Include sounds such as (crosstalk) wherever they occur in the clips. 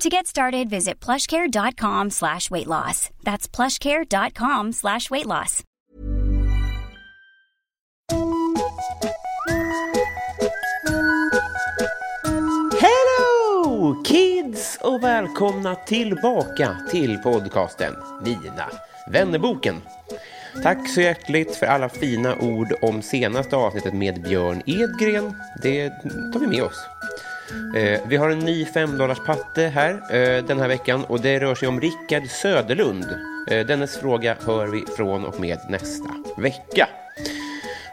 To get started, visit plushcare.com slash weight loss. That's plushcare.com slash weight loss. Hello kids och välkomna tillbaka till podcasten Mina vännerboken. Tack så hjärtligt för alla fina ord om senaste avsnittet med Björn Edgren. Det tar vi med oss. Eh, vi har en ny 5 patte här eh, den här veckan och det rör sig om Rickard Söderlund. Eh, dennes fråga hör vi från och med nästa vecka.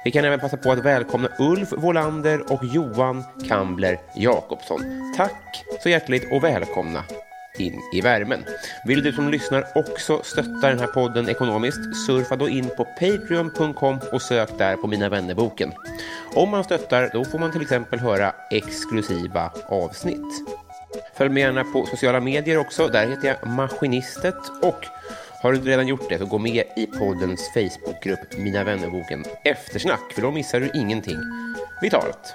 Vi kan även passa på att välkomna Ulf Volander och Johan Kambler Jakobsson. Tack så hjärtligt och välkomna in i värmen. Vill du som lyssnar också stötta den här podden ekonomiskt? Surfa då in på patreon.com och sök där på Mina vännerboken. Om man stöttar då får man till exempel höra exklusiva avsnitt. Följ mig gärna på sociala medier också. Där heter jag Maskinistet och har du inte redan gjort det så gå med i poddens Facebookgrupp Mina vännerboken Eftersnack för då missar du ingenting vitalt.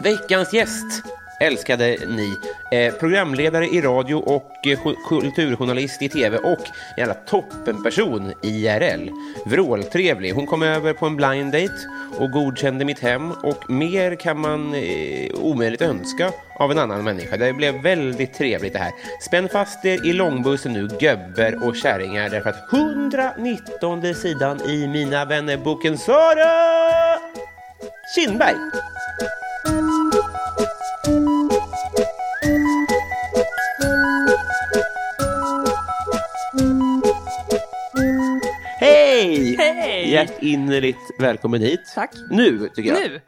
Veckans gäst älskade ni. Eh, programledare i radio och eh, jo- kulturjournalist i tv och jävla toppenperson IRL. Vråltrevlig. Hon kom över på en blind date och godkände mitt hem och mer kan man eh, omöjligt önska av en annan människa. Det blev väldigt trevligt det här. Spänn fast er i långbussen nu, göbber och kärringar, därför att 119 sidan i Mina vänner-boken Sara Kinberg. Hej! Hej! Hjärtinnerligt välkommen hit. Tack. Nu, tycker jag. Nu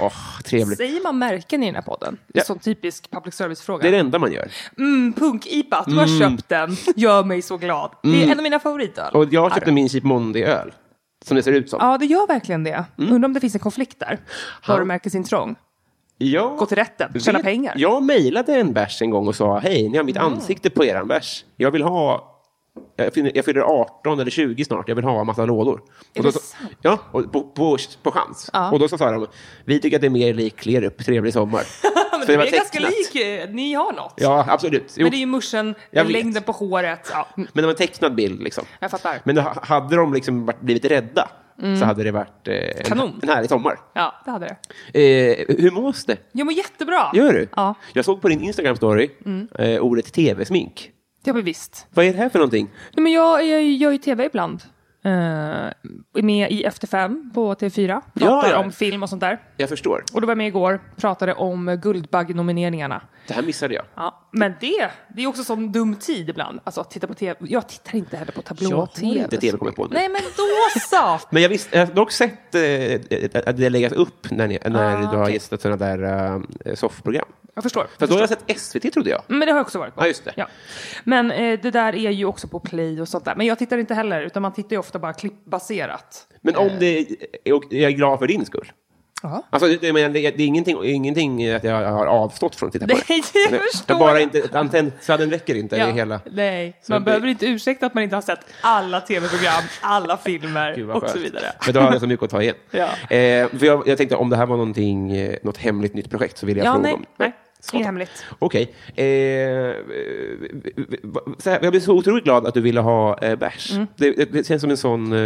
Åh, trevligt. säger man märken i den här podden. Det Ja. är en sån typisk public service-fråga. Det är det enda man gör. Mm, Punk-IPA, du har köpt den. Gör mig så glad. Det är en av mina favoritöl. Mm. Och jag köpte min Cheap Monday-öl. Som det ser ut som. Ja, det gör verkligen det. Mm. Undrar om det finns en konflikt där. Varumärkesintrång. Ja. Gå till rätten, tjäna pengar. Mm. Jag mejlade en bärs en gång och sa hej, ni har mitt ansikte på eran bärs. Jag vill ha... Jag fyller- jag fyller 18 eller 20 snart, jag vill ha en massa lådor. och det så- sant? Ja, och på, på, på chans. Ja. Och då så sa de, vi tycker att det är mer lik Klerup, trevlig sommar. Ja, (laughs) men Så det var är ganska tecknat. lik, eh, ni har något. Ja, absolut. Jo, Men det är ju muschen, Jag vet. längden på håret. Ja, mm, men det var en tecknad bild liksom. jag fattar. Men då ha- hade de liksom varit- blivit rädda så hade det varit eh, en, Mm. Kanon. en härlig sommar. Ja, det hade det. Eh, hur mås det? Jag mår jättebra. Gör du? Ja, Mm. Jag såg på din Instagram-story eh, ordet tv-smink. ja men visst. Vad är det här för någonting? Nej, men jag, jag gör ju tv ibland. Eh, är med i Efter fem på TV4. Ja, Pratar ja. om film och sånt där. Jag förstår. Och då var jag med igår, pratade om Guldbaggenomineringarna. Det här missade jag. Ja, men det, det är också sån dum tid ibland. Alltså att titta på tv. Jag tittar inte heller på Jag har tablå-tv. inte tv kommit på nu. Nej, men då så! Men jag, visst, jag har dock sett eh, att det läggas upp när, ni, Ah, när du har gästat sådana där eh, soffprogram. Jag förstår. Fast då har jag sett SVT trodde jag. Men det har jag också varit på. Ja, just det. Ja. Men eh, det där är ju också på play och sånt där. Men jag tittar inte heller, utan man tittar ju ofta bara klippbaserat. Men om det... eh, Och jag är glad för din skull. Ja. Alltså, det, det- men det, det är ingenting, ingenting att jag har avstått från att titta på det. Nej, det Nej, förstår bara jag. inte, antennsladden räcker inte. Ja, i Hela. Nej, Så man det- behöver inte ursäkta att man inte har sett alla tv-program, (laughs) alla Gud, filmer vad och så skönt. vidare. Men då har jag så mycket att ta igen. Ja. Eh, för jag, jag tänkte om det här var någonting, eh, något hemligt nytt projekt så vill jag Ja, fråga nej, om nej. Det är hemligt. Okej. Eh, eh, så här, jag blev så otroligt glad att du ville ha eh, bärs. Mm. Det, det, det känns som en sån... Eh,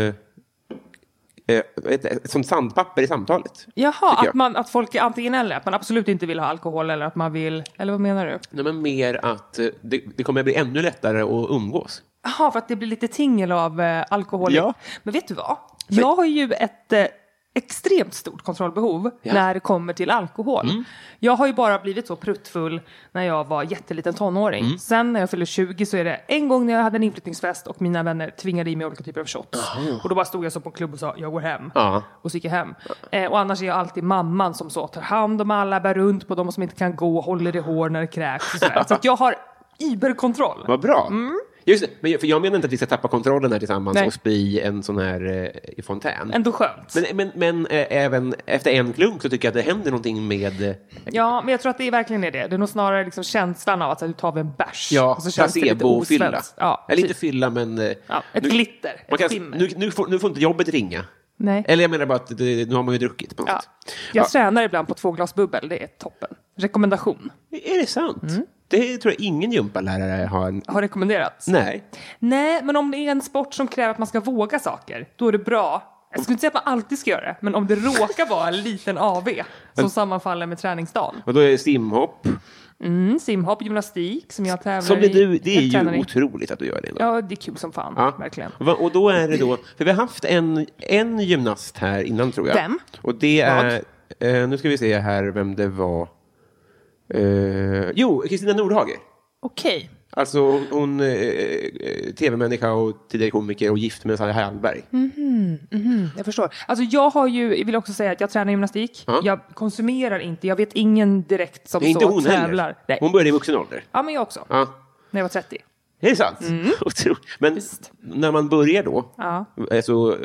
eh, vad heter det? som sandpapper i samtalet. Jaha, tycker jag. att, man, att folk är antingen eller, att man absolut inte vill ha alkohol eller att man vill, eller vad menar du? Nej, men mer att eh, det, det kommer bli ännu lättare att umgås. Jaha, för att det blir lite tingel av eh, alkohol. Ja. Men vet du vad? Jag har ju ett eh, extremt stort kontrollbehov Ja. Mm. när det kommer till alkohol. Jag har ju bara blivit så pruttfull när jag var jätteliten tonåring. Mm. Sen när jag fyllde 20 så är det en gång när jag hade en inflyttningsfest och mina vänner tvingade i mig olika typer av shots. Och då bara stod jag så på en klubb och sa jag går hem. Ja. Och så gick jag hem. Eh, och annars är jag alltid mamman som så tar hand om alla, bär runt på dem som inte kan gå, håller i hår när det kräks. (laughs) och sådär. Så att jag har iberkontroll. Vad bra. Just det, men jag- för jag menar inte att vi ska tappa kontrollen här tillsammans Mm. Nej. och spy en sån här eh, i fontän. Ändå skönt. Men, men, men eh, även efter en klunk så tycker jag att det händer någonting med... eh, ja, men jag tror att det är verkligen är det. Det är nog snarare liksom känslan av att så här, nu tar vi en bärs. Ja, Och så känns det lite placebo-fylla. osvenskt. Ja, typ. Eller precis. inte fylla, men... eh, Ja, ett nu- glitter, Man ett kan, skimmer. nu, nu, får, nu får inte jobbet ringa. Nej. Eller jag menar bara att det, nu har man ju druckit på något ja. sätt. Jag tränar ibland på två glas bubbel, det är toppen. Rekommendation. Är det sant? Mm. Det tror jag ingen gympalärare har. En... Har rekommenderats. Nej. Nej, men om det är en sport som kräver att man ska våga saker, då är det bra. Jag skulle inte säga att man alltid ska göra det, men om det råkar vara en liten AV som sammanfaller med träningsdagen. Och då är det simhopp. Mm, simhopp, gymnastik som jag tävlar Som blir i. du, det är Jag ju tränar i. otroligt att du gör det. Ändå. Ja, det är kul som fan, Ja. verkligen. Va- Och då är det då, för vi har haft en, en gymnast här innan tror jag. Vem? Och det är, eh, nu ska vi se här vem det var. Eh, jo, Kristina Nordhager. Okej. Alltså hon, hon eh, eh, tv-människa och tidigare komiker och gift med Sally Hallberg. Mm. Jag förstår. Alltså jag har ju, jag vill också säga att jag tränar gymnastik. Ja. Jag konsumerar inte, jag vet ingen direkt som Det är inte så hon tävlar. heller. Nej. Hon började i vuxen ålder. Ja, men jag också. Ja. När jag var 30. Det är sant. (laughs) Otroligt. Men när man börjar då, Mm. Ja. eh, så, eh,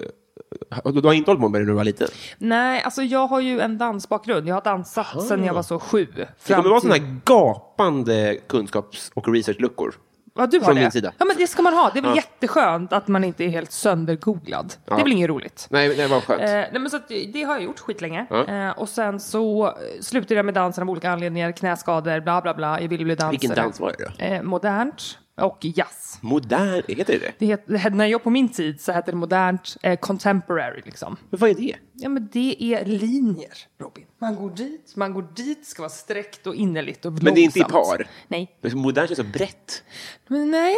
du har inte hållit på med det när du var liten? Nej, alltså jag har ju en dansbakgrund. Jag har dansat sedan jag var så sju. Det fram kommer vara till- sådana här gapande kunskaps och researchluckor. Ja, du har från det. min sida. Ja, men det ska man ha. Det är väl Ja. jätteskönt att man inte är helt söndergooglad. Det är väl inget roligt. Nej, det var Eh, skönt. nej, men så att, det har jag gjort skitlänge. Ja. Eh, och sen så eh, slutade jag med dansen av olika anledningar. Knäskador, bla bla bla. Jag ville bli dansare. Vilken dans var det då? Eh, modernt och jazz. Modern, eh, heter det det Det het, det hette- när jag på min tid så hette det modernt eh, contemporary liksom. Men vad är det? Ja men det är linjer Robin. Man går dit, man går dit, ska vara sträckt och innerligt och långsamt. Men det är inte i par? Nej. Men Modern känns så brett. Men nej.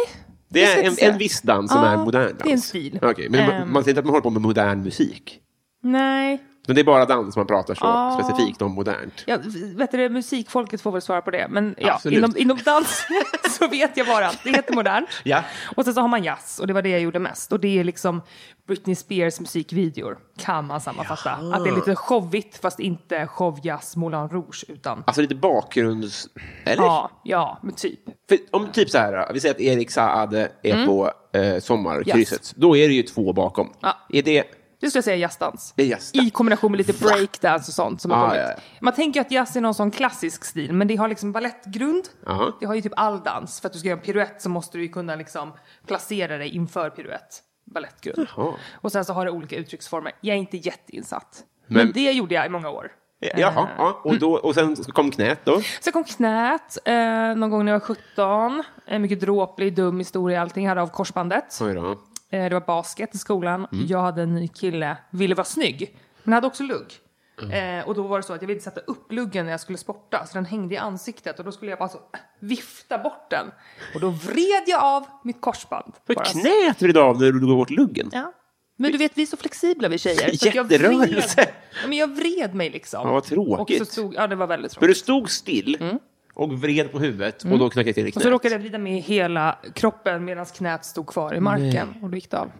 Det jag ska är inte en, säga. en viss dans som Ja, är modern dans. det är en stil. Okej, men man- Ehm. man säger inte att man håller på med modern musik. Nej. Men det är bara dans man pratar så Ja. specifikt om modernt. Ja, vet du, det, musikfolket får väl svara på det. Men ja, Absolut. inom, inom dans (laughs) så vet jag bara att det heter modernt. Ja. Och sen så har man jazz och det var det jag gjorde mest. Och det är liksom Britney Spears musikvideor kan man sammanfatta. Att det är lite showigt fast inte showjazz Moulin Rouge utan Alltså lite bakgrunds... Eller? Ja, ja, men typ. För om typ så här, vi säger att Erik Saade är Mm. på eh, sommarkrysset. Då är det ju två bakom. Ja. Är det... Det skulle jag säga jazzdans. Det är jazzdans. I kombination med lite breakdance och sånt som har Ah, kommit. ja, ja. Man tänker ju att jazz är någon sån klassisk stil, men det har liksom balettgrund. Aha. Det har ju typ all dans. För att du ska göra en piruett så måste du ju kunna liksom placera dig inför piruett. Balettgrund. Jaha. Och sen så har det olika uttrycksformer. Jag är inte jätteinsatt. Men, Men- det gjorde jag i många år. Jaha, ja. och, då, och sen kom knät då. Sen kom knät eh, någon gång när jag var 17. En mycket dråplig, dum historia allting. Hade av korsbandet. Oj då. Eh, Det var basket i skolan. Mm. Jag hade en ny kille, ville vara snygg, men hade också lugg. Mm. Eh, och då var det så att jag ville sätta upp luggen när jag skulle sporta, så den hängde i ansiktet och då skulle jag bara så äh, vifta bort den. Och då vred jag av mitt korsband. För Bara så. knät vred av när du drog bort luggen. Ja. Men du vet, vi är så flexibla vi tjejer. Så att jag Jätterörelse. vred- Ja, Men jag vred mig liksom. Ja, vad tråkigt. Och så stod, ja, det var väldigt För tråkigt. du stod still och vred på huvudet och då knackade jag till i Mm. Och knät. så råkade jag vrida med hela kroppen medan knät stod kvar i marken. Och då gick det av.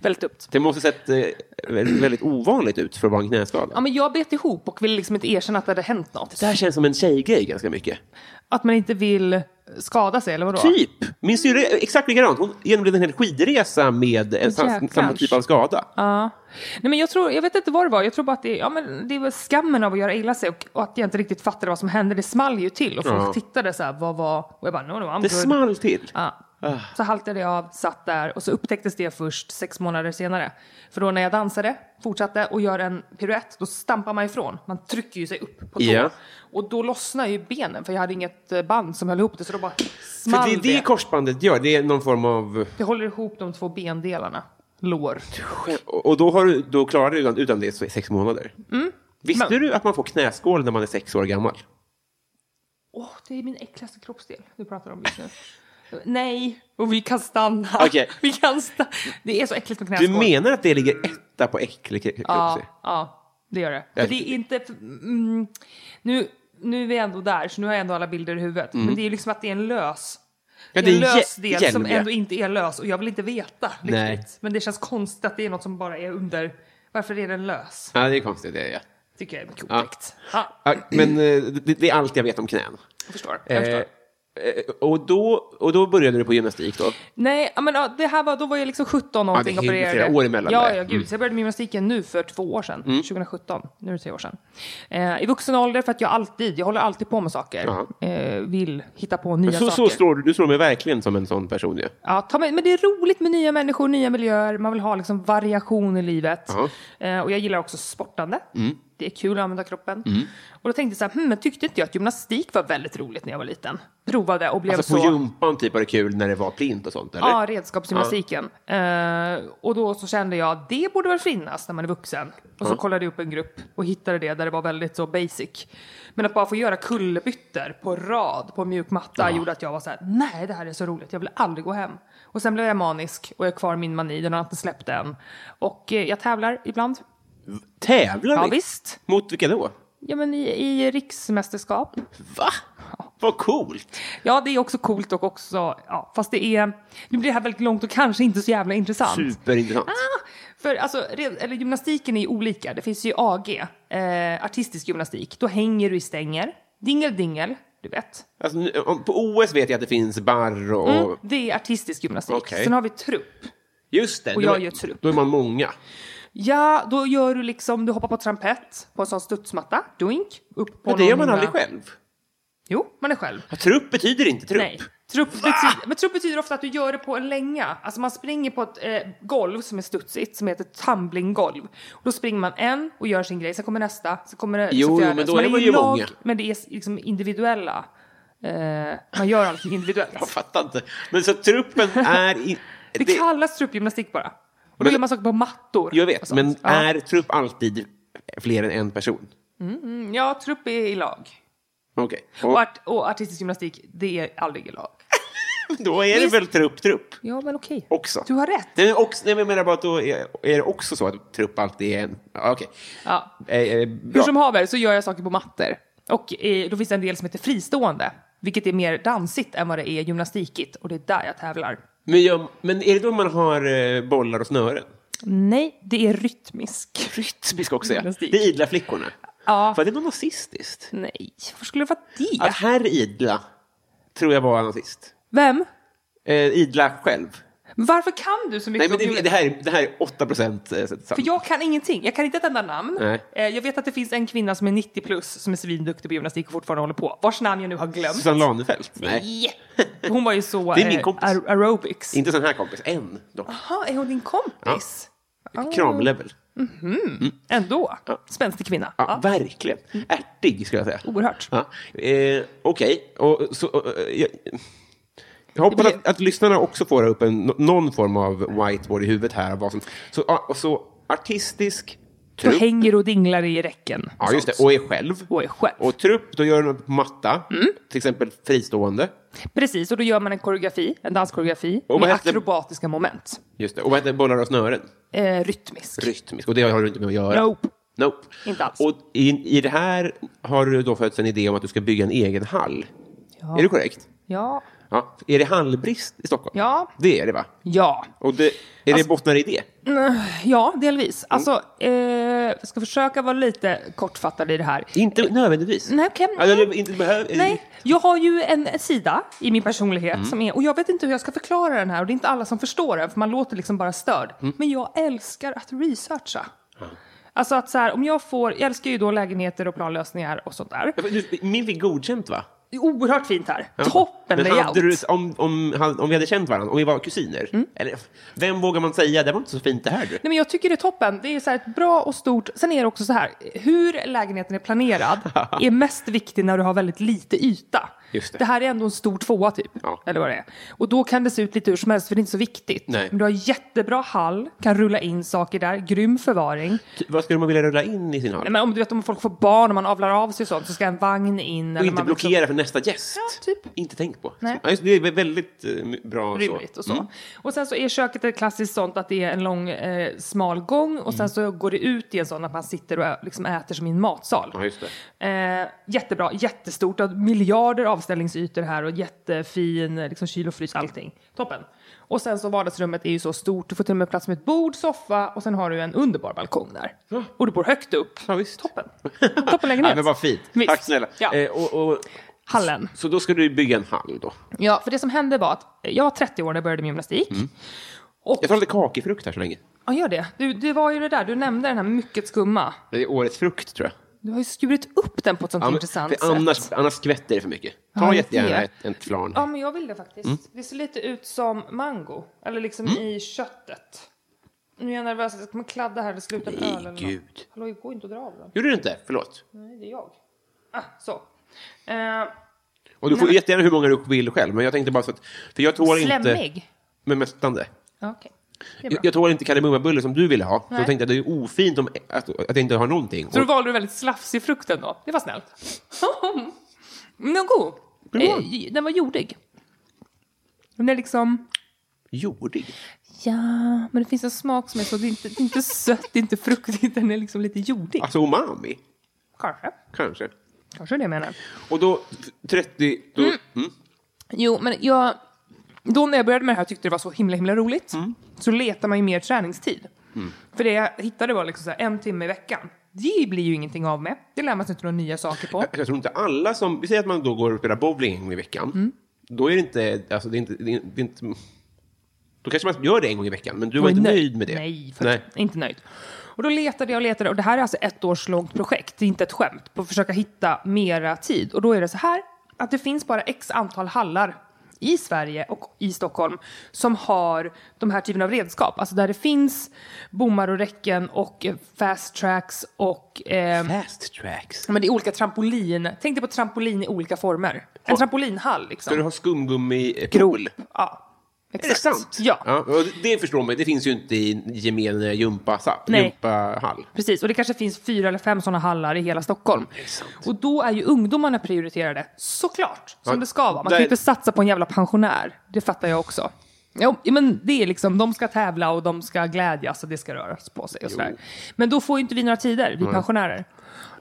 Väldigt dumt. Det måste sett eh, väldigt, väldigt ovanligt ut för att vara en knäskada. Ja, men jag bet ihop och ville liksom inte erkänna att det hade hänt något. Det här känns som en tjejgrej ganska mycket. Att man inte vill skada sig, eller vadå? Typ! Min syrra är exakt likadant. Hon genomled en hel skidresa med en, sam, Jäklar. samma typ av skada. Ja. Nej, men jag, tror, jag vet inte vad det var. Jag tror bara att det, ja, men det var skammen av att göra illa sig och, och att jag inte riktigt fattade vad som hände. Det small ju till och folk Ja. tittade så här, vad var... Och jag bara, no, no, I'm Det good. small Ah. till. Ja. Så haltade jag av, satt där och så upptäcktes det först sex månader senare. För då när jag dansade, fortsatte och gör en piruett, då stampar man ifrån. Man trycker ju sig upp på tå. Ja. Och då lossnar ju benen för jag hade inget eh, band som höll ihop det så då bara För small det är det korsbandet gör. Det är någon form av... Det håller ihop de två bendelarna. Lår. Och då, har du, då klarar du utan, utan det så i sex månader. Visste Mm. Men- du att man får knäskål när man är sex år gammal? Åh, det är min äckligaste kroppsdel du pratar om just nu. (laughs) Nej, och vi kan stanna. Okej. (laughs) Vi kan stanna. Det är så äckligt med Du knäskål. menar att det ligger etta på äcklig Ja, ja, det gör det. För Jag- det är inte... Mm, nu, nu är vi ändå där, så nu har jag ändå alla bilder i huvudet. Men det är liksom att det är en lös... Mm. Ja, det är en det är lös jä- del som hjälm, ja. ändå inte är lös och jag vill inte veta riktigt. Nej. Men det känns konstigt att det är något som bara är under... Varför är den lös? Ja, det är konstigt. Det är, ja. Tycker jag är mycket otäckt. Ja, Ja, men eh, det, det är allt jag vet om knän. jag förstår. Jag Eh, förstår. eh, och, då, och då började du på gymnastik då? Nej, ja, men ja, det här var, då var jag liksom 17 någonting Ja, det är ju opererade. flera år emellan Ja, där. Mm. ja, gud. Så jag började med gymnastiken nu för två år sedan, 2017. Nu är det tre år sedan. Eh, I vuxen ålder för att jag alltid, jag håller alltid på med saker. Jaha. Eh, vill hitta på nya Så, saker. så slår du, du slår mig verkligen som en sån person ju. Ja, ta med, men det är roligt med nya människor, nya miljöer. Man vill ha liksom variation i livet. Ja. Mm. Eh, och jag gillar också sportande. Det är kul att använda kroppen. Och då tänkte jag så här, hmm, men tyckte inte jag att gymnastik var väldigt roligt när jag var liten? Provade och blev Alltså så... på gympan typ var det kul när det var plint och sånt eller? Ja, redskapsgymnastiken. Eh, och då så kände jag det borde väl finnas när man är vuxen. Och så kollade jag upp en grupp och hittade det där det var väldigt så basic. Men att bara få göra kullerbyttor på rad på mjuk matta gjorde att jag var så här: nej det här är så roligt, jag vill aldrig gå hem. Och sen blev jag manisk och jag är kvar i min mani, den har jag inte släppt än. Och eh, jag tävlar ibland. Tävlar Ja ni? visst. Mot vilka då? Ja men i, i riksmästerskap. Va? Vad coolt! Ja, det är också coolt och också, ja, fast det är, nu blir det här väldigt långt och kanske inte så jävla intressant. Superintressant. Ah, för alltså, red- eller gymnastiken är ju olika. Det finns ju AG, eh, artistisk gymnastik. Då hänger du i stänger. Dingel, dingel, du vet. Alltså, nu- om- på OS vet jag att det finns barr och... Mm, det är artistisk gymnastik. Okej. Sen har vi trupp. Just det, Och då- jag gör trupp. då är man många. Ja, då gör du liksom, du hoppar på trampett på en sån studsmatta, doink, upp på Men det gör man någon- aldrig själv. Jo, man är själv. Ja, Trupp betyder inte trupp. Nej. Trupp betyder, men trupp betyder ofta att du gör det på en länga. Alltså man springer på ett eh, golv som är studsigt, som heter tumblinggolv. Och då springer man en och gör sin grej, sen kommer nästa, sen kommer det Jo, så jo, fjärde. men då Så man är man i ju lag, många. Men det är liksom individuella. Eh, man gör allting individuellt. Jag fattar inte. Men så (laughs) truppen är... I, det, kallas truppgymnastik bara. Och då Men- gör man saker på mattor. jag och vet, sånt. men ja. är trupp alltid fler än en person? Mm, Ja, trupp är i lag. Okej. Och, Och, art, och artistisk gymnastik, det är aldrig i lag. då är det visst- väl trupp, trupp Ja, men okej. också? Du har rätt. Nej, men också, nej, men jag menar bara att då är, är det också så att trupp alltid är en... Ja, Okej. Ja. Eh, eh, Hur bra. som haver så gör jag saker på mattor. Och eh, då finns det en del som heter fristående, vilket är mer dansigt än vad det är gymnastikigt. Och det är där jag tävlar. men, jag, men är det då man har eh, bollar och snören? (laughs) Nej, det är rytmisk. Rytmisk också, ja. Gymnastik. Det är idla flickorna. Ja. Var det något nazistiskt? Nej, varför skulle det vara det? Att herr idla tror jag var nazist. Vem? Eh, idla själv. Men Varför kan du så Nej, mycket men om det, gymnastik? det, här, är- det här är 8 procent eh, sant. För jag kan ingenting. Jag kan inte ett enda namn. Nej. Eh, Jag vet att det finns en kvinna som är 90 plus som är svinduktig på gymnastik och fortfarande håller på. Vars namn jag nu har glömt. Susanne Lanefelt? Nej. Hon var ju så... Det är min eh, kompis. aer- aerobics. Inte sån här kompis, än dock. Jaha, är hon din kompis? Ah. Kramlevel. Ändå. Spänstig kvinna. Ja, Ja. Verkligen. Ärtig, skulle jag säga. Oerhört. Ja. Eh, Okej, och så... eh, jag- jag hoppas Det blir- att, att lyssnarna också får upp en, någon form av whiteboard i huvudet här. av Vad som, så, ja, och så artistisk Då trupp, hänger och dinglar i räcken. ja, just det, och är själv. Och är själv. Och trupp, då gör de på matta, Mm. till exempel fristående. Precis, och då gör man en koreografi, en danskoreografi Och vad med heter- akrobatiska moment. Just det. Och vad heter bollar och snören? Eh, rytmisk. Rytmisk, och det har du inte med att göra. Nope. Nope. Inte alls. Och i, i det här har du då fötts en idé om att du ska bygga en egen hall. Är det korrekt? Ja. Ja. Är det hallbrist i Stockholm? Ja. Alltså- Det är det, va? Ja. Och det, är det bottnar i det? Ja, delvis. Alltså, eh, jag ska försöka vara lite kortfattad i det här. Inte nödvändigtvis. Nej, okej. Ja, eller inte behöv... Nej, jag har ju en sida i min personlighet Mm. som är, och jag vet inte hur jag ska förklara den här och det är inte alla som förstår den för man låter liksom bara störd. Mm. Men jag älskar att researcha. Alltså att så här, om jag får, jag älskar ju då lägenheter och planlösningar och sånt där. Du, Min fick godkänt, va? Det är oerhört fint här. Toppen Men layout. hade du, om, om, hade- om vi hade känt varandra, om vi var kusiner, Mm. eller, vem vågar man säga, det var inte så fint det här du? Nej, men jag tycker det är toppen. Det är så här ett bra och stort... Sen är (laughs) det också så här, hur lägenheten är planerad är mest viktig när du har väldigt lite yta. Just det. det här är ändå en stor tvåa typ. Ja. Eller vad det är. Och då kan det se ut lite hur som helst för det är inte så viktigt. Nej. Men du har jättebra hall, kan rulla in saker där, grym förvaring. Ty- Vad skulle man vilja rulla in i sin hall? Nej, men om du vet om folk får barn och man avlar av sig och sånt så ska en vagn in. Och inte eller man liksom- blockera för nästa gäst. Ja, typ. Inte tänkt på. Nej. Ja, just, det det är väldigt eh, bra. Rimligt så. och så. Mm. Och sen så är köket ett klassiskt sånt att det är en lång eh, smal gång och Mm. sen så går det ut i en sån att man sitter och ä- liksom äter som i en matsal. Ja, just det. Eh, jättebra, jättestort, och miljarder avställningsytor här och jättefin eh, liksom, kyl och frys, allting. Toppen. Och sen så vardagsrummet är ju så stort, du får till och med plats med ett bord, soffa och sen har du en underbar balkong där. Och du bor högt upp. Ja, visst. (laughs) Toppen. Ja, Toppenlägenhet. men vad fint. Visst. Tack snälla. Ja. Eh, och, och, Hallen. så då ska du bygga en hall då? Ja, för det som hände var att jag var 30 år när jag började med gymnastik. Mm. Och, Jag tar lite kakifrukt här så länge. ja gör det. Du, det var ju det där, du nämnde den här mycket skumma. Det är årets frukt tror jag. Du har ju skurit upp den på ett sånt Ja, men- intressant för sätt. annars, annars skvätter det för mycket. Ta Ja, det är jättegärna det. ett, ett flarn. Ja, men jag vill det faktiskt. Mm. Det ser lite ut som mango, eller liksom i köttet. Nu är jag nervös att jag kommer kladda här och sluta med Nej, öl eller något. gud. Hallå, det går inte att dra av den. Gjorde du inte? Förlåt. Nej, det är jag. Ah, så. Eh, Och du får jättegärna hur många du vill själv, men jag tänkte bara så att... För jag tål inte... slemmig. Men mästande. Ja, Okej. Det är bra. Jag, jag tål inte kardemummabulle som du ville ha. Så Nej. jag tänkte att det är ofint om, att, att jag inte har någonting. Så då Och- valde du väldigt slafsig frukt ändå. Det var (laughs) snällt. Men den var god. Den var Eh, Den var jordig. Den är liksom... Jordig. Ja, men det finns en smak som är så... Det är inte, det är (laughs) inte sött, det är inte fruktigt. Den är liksom lite jordig. Alltså umami, Kanske. kanske. Kanske det jag menar. Och då, 30... Då, mm. Jo, men jag... Då när jag började med det här tyckte jag det var så himla himla roligt. Så letar man ju mer träningstid. För det jag hittade var liksom så här, en timme i veckan. Det blir ju ingenting av med. Det lär man sig inte några nya saker på. (laughs) Jag tror inte alla som... Vi säger att man då går och spelar bowling en gång i veckan. Mm. Då är det inte... Alltså det är inte, det är, det är inte... Då kanske man gör det en gång i veckan, men du var Och inte nöjd. nöjd med det. Nej, för inte nöjd. Och då letade jag och letade och det här är alltså ett års långt projekt, det är inte ett skämt, på att försöka hitta mera tid. Och då är det så här att det finns bara x antal hallar i Sverige och i Stockholm som har de här typen av redskap. Alltså där det finns bommar och räcken och eh, fast tracks och eh, Fast tracks. men det är olika trampolin. Tänk dig på trampolin i olika former. En trampolinhall liksom. Ska du ha skumgummi Grol. Ja. Är det sant? Ja. ja och det förstår man, det finns ju inte i gemene gympasal- Nej. gympahall. Precis, och det kanske finns fyra eller fem sådana hallar i hela Stockholm. Och då är ju ungdomarna prioriterade, såklart, som Ja, det ska vara. Man där- kan ju inte satsa på en jävla pensionär, det fattar jag också. Jo, men det är liksom, de ska tävla och de ska glädjas och det ska röras på sig och sådär. Men då får ju inte vi några tider, vi pensionärer.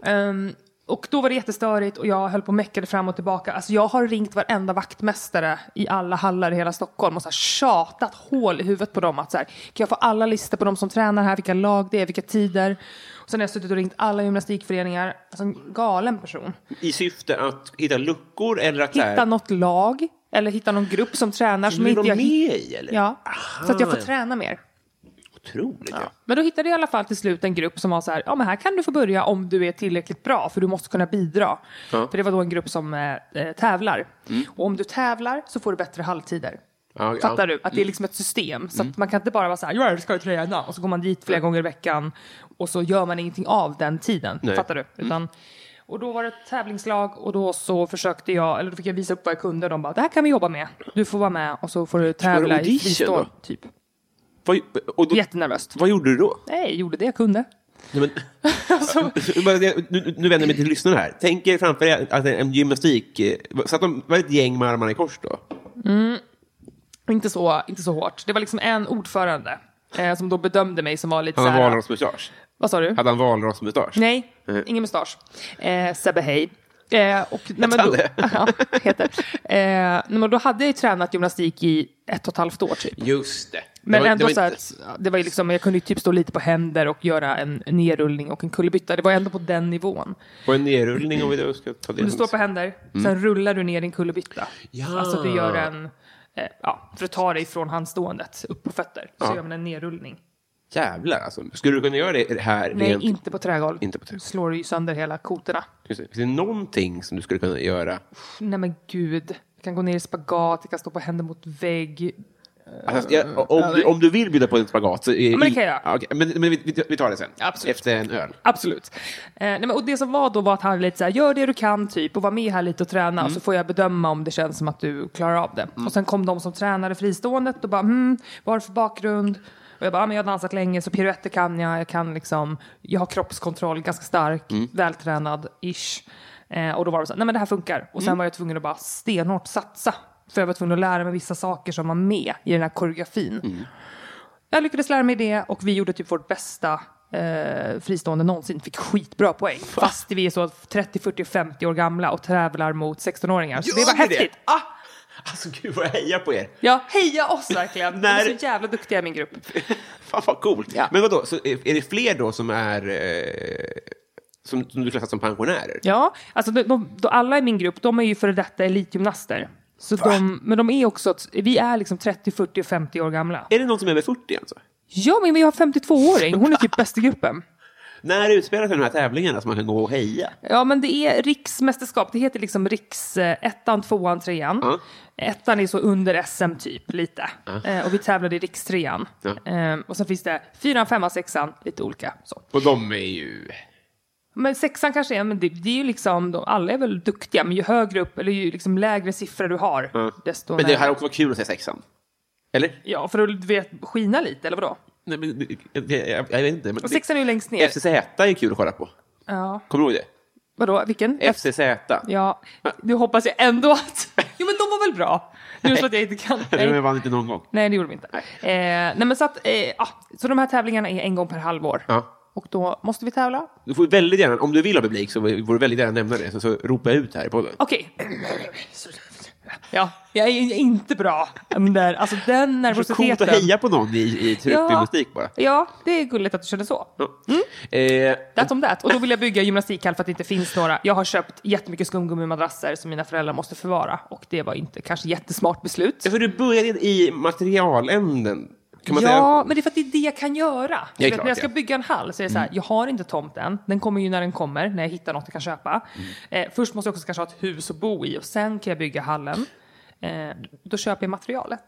Ehm, och då var det jättestörigt och jag höll på och meckade fram och tillbaka. Alltså jag har ringt varenda vaktmästare i alla hallar i hela Stockholm och så här tjatat hål i huvudet på dem. Att så här, kan jag få alla listor på de som tränar här, vilka lag det är, vilka tider. Och sen har jag suttit och ringt alla gymnastikföreningar. Alltså en galen person. I syfte att hitta luckor eller att... så här- Hitta något lag eller hitta någon grupp som tränar. Så Som blir inte de jag med i, eller? Ja, så att jag får Aha. träna mer. Otroligt, ja. Men då hittade jag i alla fall till slut en grupp som var så här, ja men här kan du få börja om du är tillräckligt bra för du måste kunna bidra. För det var då en grupp som eh, eh, tävlar. Och om du tävlar så får du bättre halvtider. Mm. Ja, Mm. Fattar ja. du? Att det är liksom ett system. Så att man kan inte bara vara så här, jag ska träna och så går man dit flera gånger i veckan och så gör man ingenting av den tiden. Nej. Mm. Fattar du? Utan, och då var det ett tävlingslag och då så försökte jag, eller då fick jag visa upp vad jag kunde och de bara, det här kan vi jobba med. Du får vara med och så får du tävla i audition fristånd. då? Typ. Vad, och då, Jättenervöst. vad gjorde du då? Nej, jag gjorde det jag kunde. Nej, men, Alltså- (laughs) Bara det- nu, nu vänder jag mig till lyssnarna här. Tänk er framför er att en gymnastik... eh, Så att de var ett gäng med armarna i kors då? Inte så, inte så hårt. Det var liksom en ordförande eh, som då bedömde mig som var lite Hade så han här... valrossmustasch? Vad sa du? Hade han valrossmustasch? Nej, Nej. ingen mustasch. Eh, Sebbe Hej. Eh, och, nej, men han då, det? (laughs) ja, heter. Eh, nej, men då hade jag ju tränat gymnastik i ett och ett halvt år typ. Just det. Men det var, ändå det så var här att det var ju liksom, jag kunde ju typ stå lite på händer och göra en nerrullning och en kullerbytta. Det var ändå på den nivån. På en nerrullning om vi då ska ta det. Du står på händer, Mm. sen rullar du ner din kullerbytta. Ja. Alltså att du gör Ah. en, eh, ja, för att ta dig från handståendet upp på fötter, så gör man en nerrullning. Jävlar alltså. Skulle du kunna göra det här? Nej, rent- inte på trägolv. Inte på trägolv. slår du ju sönder hela kotorna. Just det. Finns det någonting som du skulle kunna göra? Nej men gud. Jag kan gå ner i spagat, jag kan stå på händer mot vägg. Alltså, jag, om, om du vill bjuda på en spagat så... Är, men det kan jag göra. Okej, men, men vi, vi tar det sen. Absolut. Alltså, Efter en öl. Absolut. Eh, nej, men, och det som var då var att han lite så här, gör det du kan typ och var med här lite och träna och så får jag bedöma om det känns som att du klarar av det. Och sen kom de som tränade friståendet och bara, hmm, vad har du för bakgrund? Och jag bara, ah, men jag har dansat länge så piruetter kan jag, jag kan liksom, jag har kroppskontroll, ganska stark, vältränad, ish. Eh, och då var de så här, nej men det här funkar. Och sen var jag tvungen att bara stenhårt satsa. För jag var tvungen att lära mig vissa saker som var med i den här koreografin. Jag lyckades lära mig det och vi gjorde typ vårt bästa eh, fristående någonsin. Fick skitbra poäng. Fast vi är så 30, 40, 50 år gamla och tävlar mot 16-åringar. Så det Gör var ni häftigt. Det? Ah! Alltså gud vad jag hejar på er. Ja, heja oss verkligen. De När- är så jävla duktiga i min grupp. (laughs) Fan vad coolt. Ja. Men vadå, så är är det fler då som är... Eh, som, som du klassar som pensionärer? Ja, alltså de, de, de, alla i min grupp, de är ju före detta elitgymnaster. Så de, men de är också, att- vi är liksom 30, 40, 50 år gamla. Är det någon som är över 40 alltså? Ja, men vi har 52-åring. Hon är typ bäst i gruppen. När utspelar sig de här tävlingarna som man kan gå och heja? Ja, men det är riksmästerskap. Det heter liksom riks... eh, Ettan, tvåan, trean. Ja. Ettan är så under SM typ, lite. Eh, och vi tävlade i rikstrean. Ja. Eh, och sen finns det fyran, femman, sexan, lite olika. Så. Och de är ju... Men sexan kanske är, men det, det är ju liksom, de, alla är väl duktiga, men ju högre upp, eller ju liksom lägre siffror du har, Ja. desto... Men det närmare. här också var kul att se sexan. Eller? Ja, för att du vet, skina lite, eller vadå? Nej, men, det- jag, jag, jag vet inte. Men Och sexan är ju längst ner. FCZ är kul att kolla på. Ja. Kommer du ihåg Vadå, vilken? det? FCZ. Ja, nu hoppas jag ändå att... Jo, men de var väl bra? Nu är det så att jag inte (laughs) kan... Nej. De vann inte någon gång. Nej, det gjorde de inte. Eh, nej, men så, att, eh, ja, så de här tävlingarna är en gång per halvår. Ja. Och då måste vi tävla. Du får väldigt gärna, om du vill ha publik så vore du väldigt gärna nämna det, så, så ropa ut här i podden. Okej. Ja, jag är ju inte bra. Den där, alltså den Så coolt att nervositeten. heja på någon i, i truppgymnastik bara. ja, det är gulligt att du känner så. Ja. Eh, That's om that. Och då vill jag bygga gymnastikhall för att det inte finns några. Jag har köpt jättemycket skumgummimadrasser som mina föräldrar måste förvara. Och det var inte kanske jättesmart beslut. ja, för du började i materialänden, kan man Ja, säga. men det är för att det är det jag kan göra. Du vet, klart, när jag ska ja. Mm. bygga en hall så är det så här, jag har inte tomten, den kommer ju när den kommer, när jag hittar något jag kan köpa. Mm. Eh, först måste jag också kanske ha ett hus att bo i och sen kan jag bygga hallen. Eh, då köper jag materialet.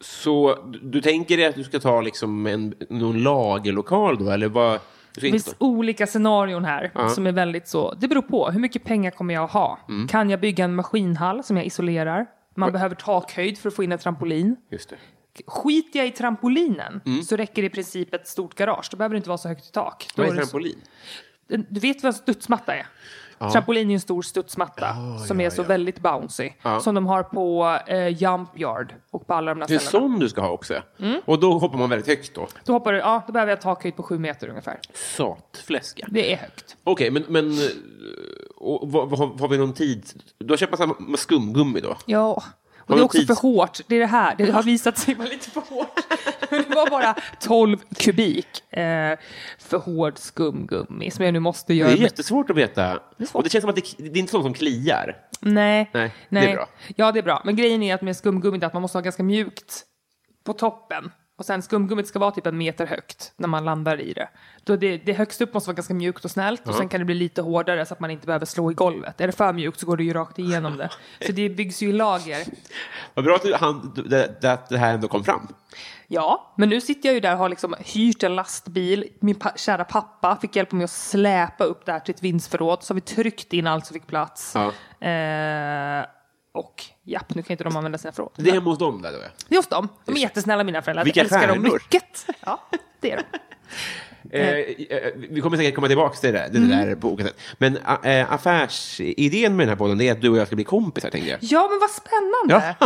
Så du, du tänker dig att du ska ta liksom en, någon lagerlokal då, eller vad? Du ska Det inte finns ta- olika scenarion här som är väldigt så, det beror på, hur mycket pengar kommer jag att ha? Mm. Kan jag bygga en maskinhall som jag isolerar? Man behöver takhöjd för att få in en trampolin. Just det. Skiter jag i trampolinen Mm. så räcker det i princip ett stort garage. Då behöver det inte vara så högt i tak. Då Vad är är det så- trampolin? Den- Du vet vad en studsmatta är? Trampolin är ju en stor studsmatta som är så väldigt bouncy. Som de har på eh, Jump Yard och på alla de där Det är en ställena. sån du ska ha också. Mm. Och då hoppar man väldigt högt då. Då, hoppar du, ja, då behöver jag takhöjd på sju meter ungefär. Satfläska. Det är högt. Okej, men, men eh, och, vad, vad, har- har vi någon tid? Du har köpt massa ma- skumgummi då? Ja. Har vi Och det är också tids- för hårt. Det är det här. Det har visat sig vara lite för hårt. (laughs) Men det var bara 12 kubik eh, för hård skumgummi som jag nu måste Det göra. är jättesvårt att veta. är svårt. och det känns som att det, det är inte sånt som kliar. Nej. Nej, det är bra. Ja, det är bra. Men grejen är att med skumgummit att man måste ha ganska mjukt på toppen. Och sen skumgummit ska vara typ en meter högt när man landar i det. Då det, det högst upp måste vara ganska mjukt och snällt och sen kan det bli lite hårdare så att man inte behöver slå i golvet. Är det för mjukt så går det ju rakt igenom det. Så det byggs ju i lager. Vad bra att du, han, du- det, det, att det här ändå kom fram. Ja, men nu sitter jag ju där och har liksom hyrt en lastbil. Min pa- kära pappa fick hjälpa mig att släpa upp det här till ett vindsförråd. Så har vi tryckt in allt som fick plats. Ja. Eh, och japp, nu kan inte de använda sina förråd. Det är hemma hos dem där då. ja. Det är hos dem. De är jättesnälla mina föräldrar. Vilka jag älskar dem stjärnor. mycket. Ja, det är de. Eh, eh, vi kommer säkert komma tillbaka till det där, Mm. det där på olika sätt. Men a- eh, affärsidén med den här podden det är att du och jag ska bli kompisar, tänker (laughs) jag. Ja, men vad spännande.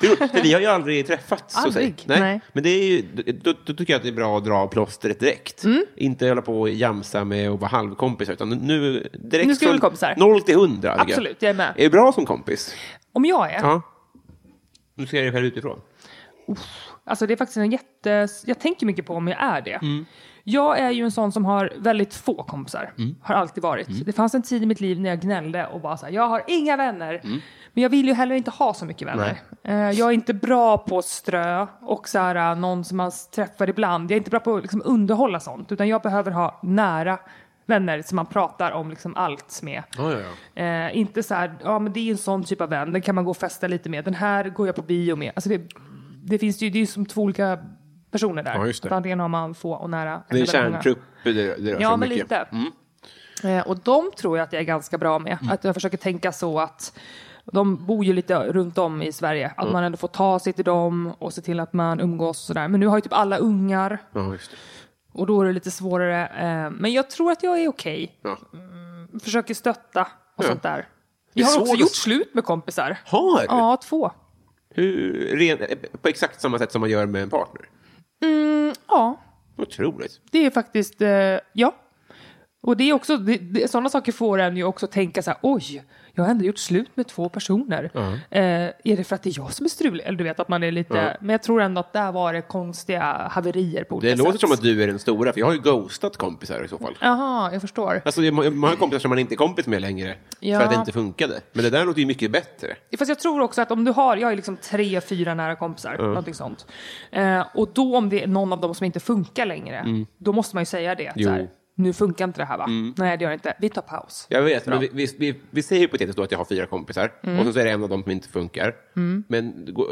det är roligt, för vi har ju aldrig träffats. så att säga. Aldrig, nej. Men det är ju, då, då tycker jag att det är bra att dra av plåstret direkt. Mm. Inte hålla på och jamsa med och vara halvkompisar, utan nu direkt Nu ska vi från bli kompisar. noll till hundra. tycker Absolut, jag är med. Är du bra som kompis? Om jag är. Ja. Du ser dig själv utifrån. Alltså det är faktiskt en jätte... Jag tänker mycket på om jag är det. Jag är ju en sån som har väldigt få kompisar. Har alltid varit. Det fanns en tid i mitt liv när jag gnällde och bara så här, jag har inga vänner. Men jag vill ju heller inte ha så mycket vänner. Eh, Jag är inte bra på att strö och så här, eh, någon som man träffar ibland. Jag är inte bra på att liksom underhålla sånt. Utan jag behöver ha nära vänner som man pratar om liksom allt med. Ja, ja, ja. Eh, inte så här, ja men det är en sån typ av vän, den kan man gå och festa lite med. Den här går jag på bio med. Alltså det, det finns ju, det är ju som två olika personer där. Ja, just det. Att Antingen har man få och nära. Det är en eller väldigt många. kärntrupp det, det rör sig Ja, om men mycket. Mm. lite. Eh, Och de tror jag att jag är ganska bra med. Att jag försöker tänka så att de bor ju lite runt om i Sverige. Att man ändå får ta sig till dem och se till att man umgås och sådär. Men nu har ju typ alla ungar Ja, just det. och då är det lite svårare. Eh, Men jag tror att jag är okej. Ja. Försöker stötta och Ja. sånt där. är Jag har så också det- gjort slut med kompisar. Har du? Ja, två. Hur, ren, på exakt samma sätt som man gör med en partner? Ja, Otroligt. Det är faktiskt, eh, ja. Och det är också, det, det, sådana saker får en ju också tänka så här, oj, jag har ändå gjort slut med två personer. Eh, är det för att det är jag som är strulig? Eller du vet att man är lite, men jag tror ändå att där var det konstiga haverier på olika Det sätt. låter som att du är den stora, för jag har ju ghostat kompisar i så fall. Jaha, jag förstår. Alltså, det- man man har kompisar som man inte är kompis med längre, Ja. för att det inte funkade. Men det där låter ju mycket bättre. Fast jag tror också att om du har, jag har ju liksom tre, fyra nära kompisar, någonting sånt. Eh, och då om det är någon av dem som inte funkar längre, då måste man ju säga det. Jo. Så här, nu funkar inte det här va? Nej, det gör det inte. Vi tar paus. Jag vet, men vi, vi, vi, vi säger hypotetiskt då att jag har fyra kompisar Mm. och sen så är det en av dem som inte funkar. Men det går-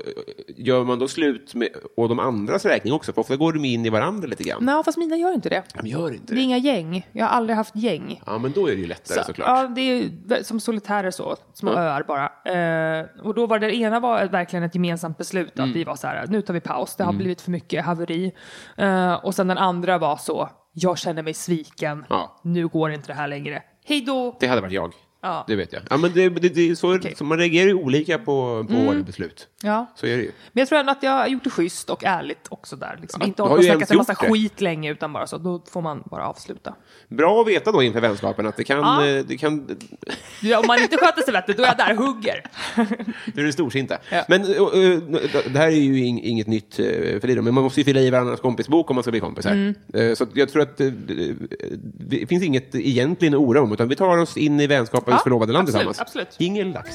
gör man då slut med, och de andras räkning också? För ofta går de in i varandra lite grann. Nej, fast mina gör inte det. De gör inte Det är det. inga gäng. Jag har aldrig haft gäng. Ja, men då är det ju lättare såklart. Ja, det är ju vä- som solitärer så, små öar bara. Eh, och då var det ena var verkligen ett gemensamt beslut Mm. att vi var så här, nu tar vi paus, det har blivit för mycket haveri. Eh, och sen den andra var så, jag känner mig sviken, Ja. nu går inte det här längre. Hej då! Det hade varit jag. Ja. Det vet jag. Ja, men det, det, det är så, så man reagerar ju olika på, Mm. på våra beslut. Ja. Så är det ju. Men jag tror ändå att jag har gjort det schysst och ärligt också där. Liksom. Ja, du Inte hållit har på och ju snackat en ens massa gjort det. skit länge utan bara så, då får man bara avsluta. Bra att veta då inför vänskapen att det kan... Ja. eh, Det kan Ja, om man inte sköter sig vet du, då är jag där och hugger. nu är det storsinta. Ja. Men eh, eh, det här är ju ing- inget nytt eh, för dig då, men man måste ju fylla i varandras kompisbok om man ska bli kompisar. Mm. Eh, Så att jag tror att eh, det finns inget egentligen att oroa om, utan vi tar oss in i vänskapens Ja, förlovade land absolut, tillsammans. absolut. Mm. Ingen lax.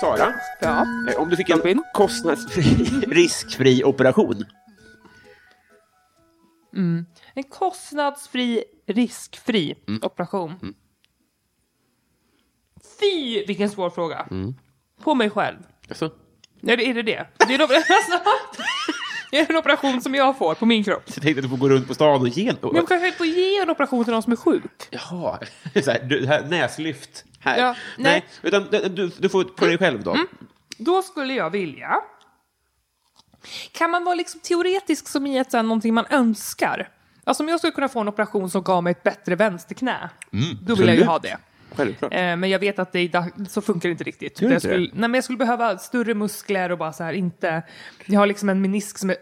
Sara? Ja. Eh, Om du fick en Robin? kostnadsfri, (laughs) riskfri operation. En kostnadsfri, riskfri operation. Fy, vilken svår fråga. På mig själv. Alltså, Är det är det? Det, det är, en, op- (laughs) alltså, det är en operation som jag får på min kropp. jag tänkte att du får gå runt på stan och ge... Men jag kanske får ge en operation till någon som är sjuk. Jaha, så här, du, här, näslyft. Här. Ja, nej. nej. Mm. utan du- du, du får på dig själv då. Då skulle jag vilja... Kan man vara liksom teoretisk som i ett, så här, någonting man önskar? Alltså om jag skulle kunna få en operation som gav mig ett bättre vänsterknä, då vill jag ju absolut. ha det. Självklart. Eh, men jag vet att det i dag, så funkar det inte riktigt. Gör det jag, inte skulle, nej, men jag skulle behöva större muskler och bara så här inte... Jag har liksom en menisk som är...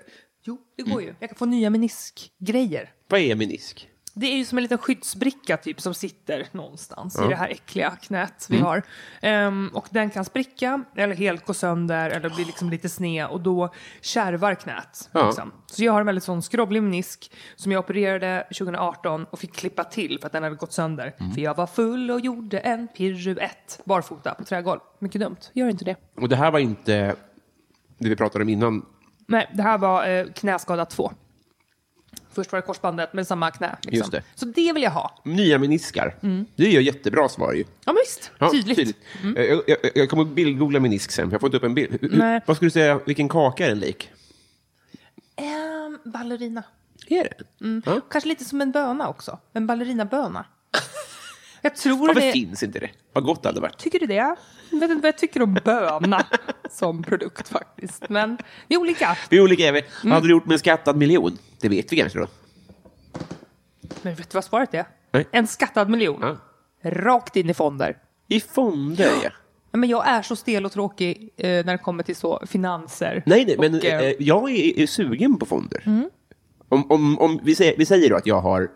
Jo, det går ju. Jag kan få nya meniskgrejer. Vad är menisk? Det är ju som en liten skyddsbricka typ som sitter någonstans i det här äckliga knät Mm. vi har. Ehm, och den kan spricka eller helt gå sönder eller bli liksom lite sned och då kärvar knät. Ja. Liksom. Så jag har en väldigt sån skrovlig menisk som jag opererade 2018 och fick klippa till för att den hade gått sönder. Mm. För jag var full och gjorde en piruett barfota på trägolv. Mycket dumt, gör inte det. Och det här var inte det vi pratade om innan. Nej, det här var eh, knäskada 2. Först var det korsbandet men samma knä. Liksom. Just det. Så det vill jag ha. Nya meniskar. Det är ju jättebra svar ju. Ja men visst, Ja, Mm. tydligt. Mm. Eh, Jag, jag, jag kommer att bildgoogla menisk sen, för jag får inte upp en bild. Hur- hur- Nej. Vad skulle du säga, vilken kaka är den lik? Ehm, ballerina. Är det? Mm. Ja. Kanske lite som en böna också. En ballerinaböna. Jag tror Varför det. finns inte det? Vad gott det hade varit. Tycker du det? Jag vet inte vad jag tycker om (laughs) böna som produkt faktiskt. Men det är olika. Vi är olika, är vi. Vad hade du gjort med en skattad miljon? Det vet vi kanske då. Men vet du vad svaret är? Nej. En skattad miljon. Ja. Rakt in i fonder. I fonder, ja. Men jag är så stel och tråkig eh, när det kommer till så finanser. Nej, nej, men Och, eh, eh, Mm. jag är, är sugen på fonder. Om, om, om vi, säger, vi säger då att jag har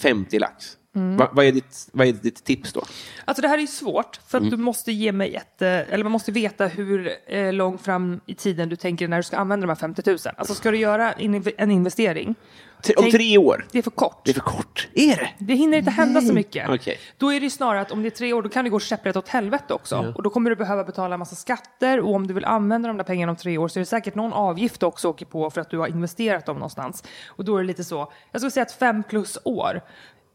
50 lax Va, vad, är ditt, vad är ditt tips då? Alltså det här är ju svårt för att Mm. du måste ge mig ett, eh, eller man måste veta hur eh, långt fram i tiden du tänker när du ska använda de här 50 000. Alltså ska du göra en inv- en investering, Tre- Om Tänk- tre år? det är för kort. Det är för kort. Är det? Det hinner inte hända så mycket. Okej. Då är det ju snarare att om det är tre år då kan det gå käpprätt åt helvete också. Och då kommer du behöva betala en massa skatter och om du vill använda de där pengarna om tre år så är det säkert någon avgift du också åker på för att du har investerat dem någonstans. Och då är det lite så, jag skulle säga att fem plus år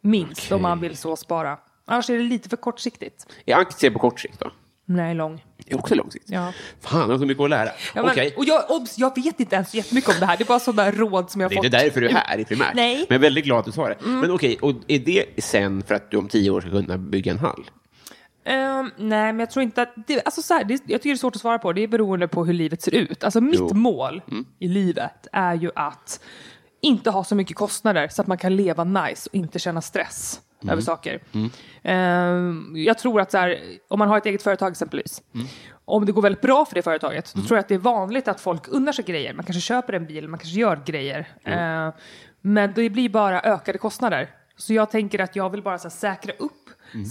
minst om man vill så spara. Annars är det lite för kortsiktigt. Är aktier på kort sikt då? Nej, lång. Det är också lång sikt. Ja. Fan, jag har så mycket att lära. Ja, men, Okej. Och jag, obs, jag vet inte ens jättemycket om det här. Det är bara sådana råd som jag har Det är fått. inte därför du är här i primärt. Nej. Men jag är väldigt glad att du sa det. Men okej, och är det sen för att du om tio år ska kunna bygga en hall? Ehm, nej, men jag tror inte att... Det, alltså så här, det, jag tycker det är svårt att svara på. Det är beroende på hur livet ser ut. Alltså mitt Jo. mål i livet är ju att inte ha så mycket kostnader så att man kan leva nice och inte känna stress över saker. Ehm, jag tror att så här, om man har ett eget företag exempelvis, om det går väldigt bra för det företaget, då tror jag att det är vanligt att folk unnar sig grejer. Man kanske köper en bil, man kanske gör grejer. Ehm, men det blir bara ökade kostnader. Så jag tänker att jag vill bara så här, säkra upp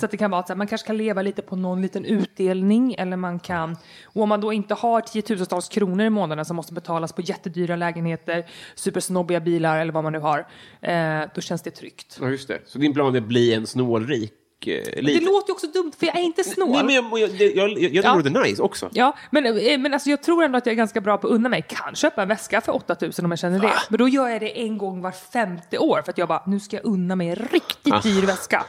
så att det kan vara att så här, man kanske kan leva lite på någon liten utdelning eller man kan, och om man då inte har tiotusentals kronor i månaden som måste betalas på jättedyra lägenheter, supersnobbiga bilar eller vad man nu har, eh, då känns det tryggt. Ja, just det. Så din plan är att bli en snålrik eh, Det liten... låter ju också dumt för jag är inte snål. Nej, men jag, jag, det- jag, jag, jag Ja. tror det är nice också. Ja, men, eh, men alltså jag tror ändå att jag är ganska bra på att unna mig. Kan köpa en väska för 8000 om jag känner det. Men då gör jag det en gång var femte år för att jag bara, nu ska jag unna mig en riktigt dyr väska.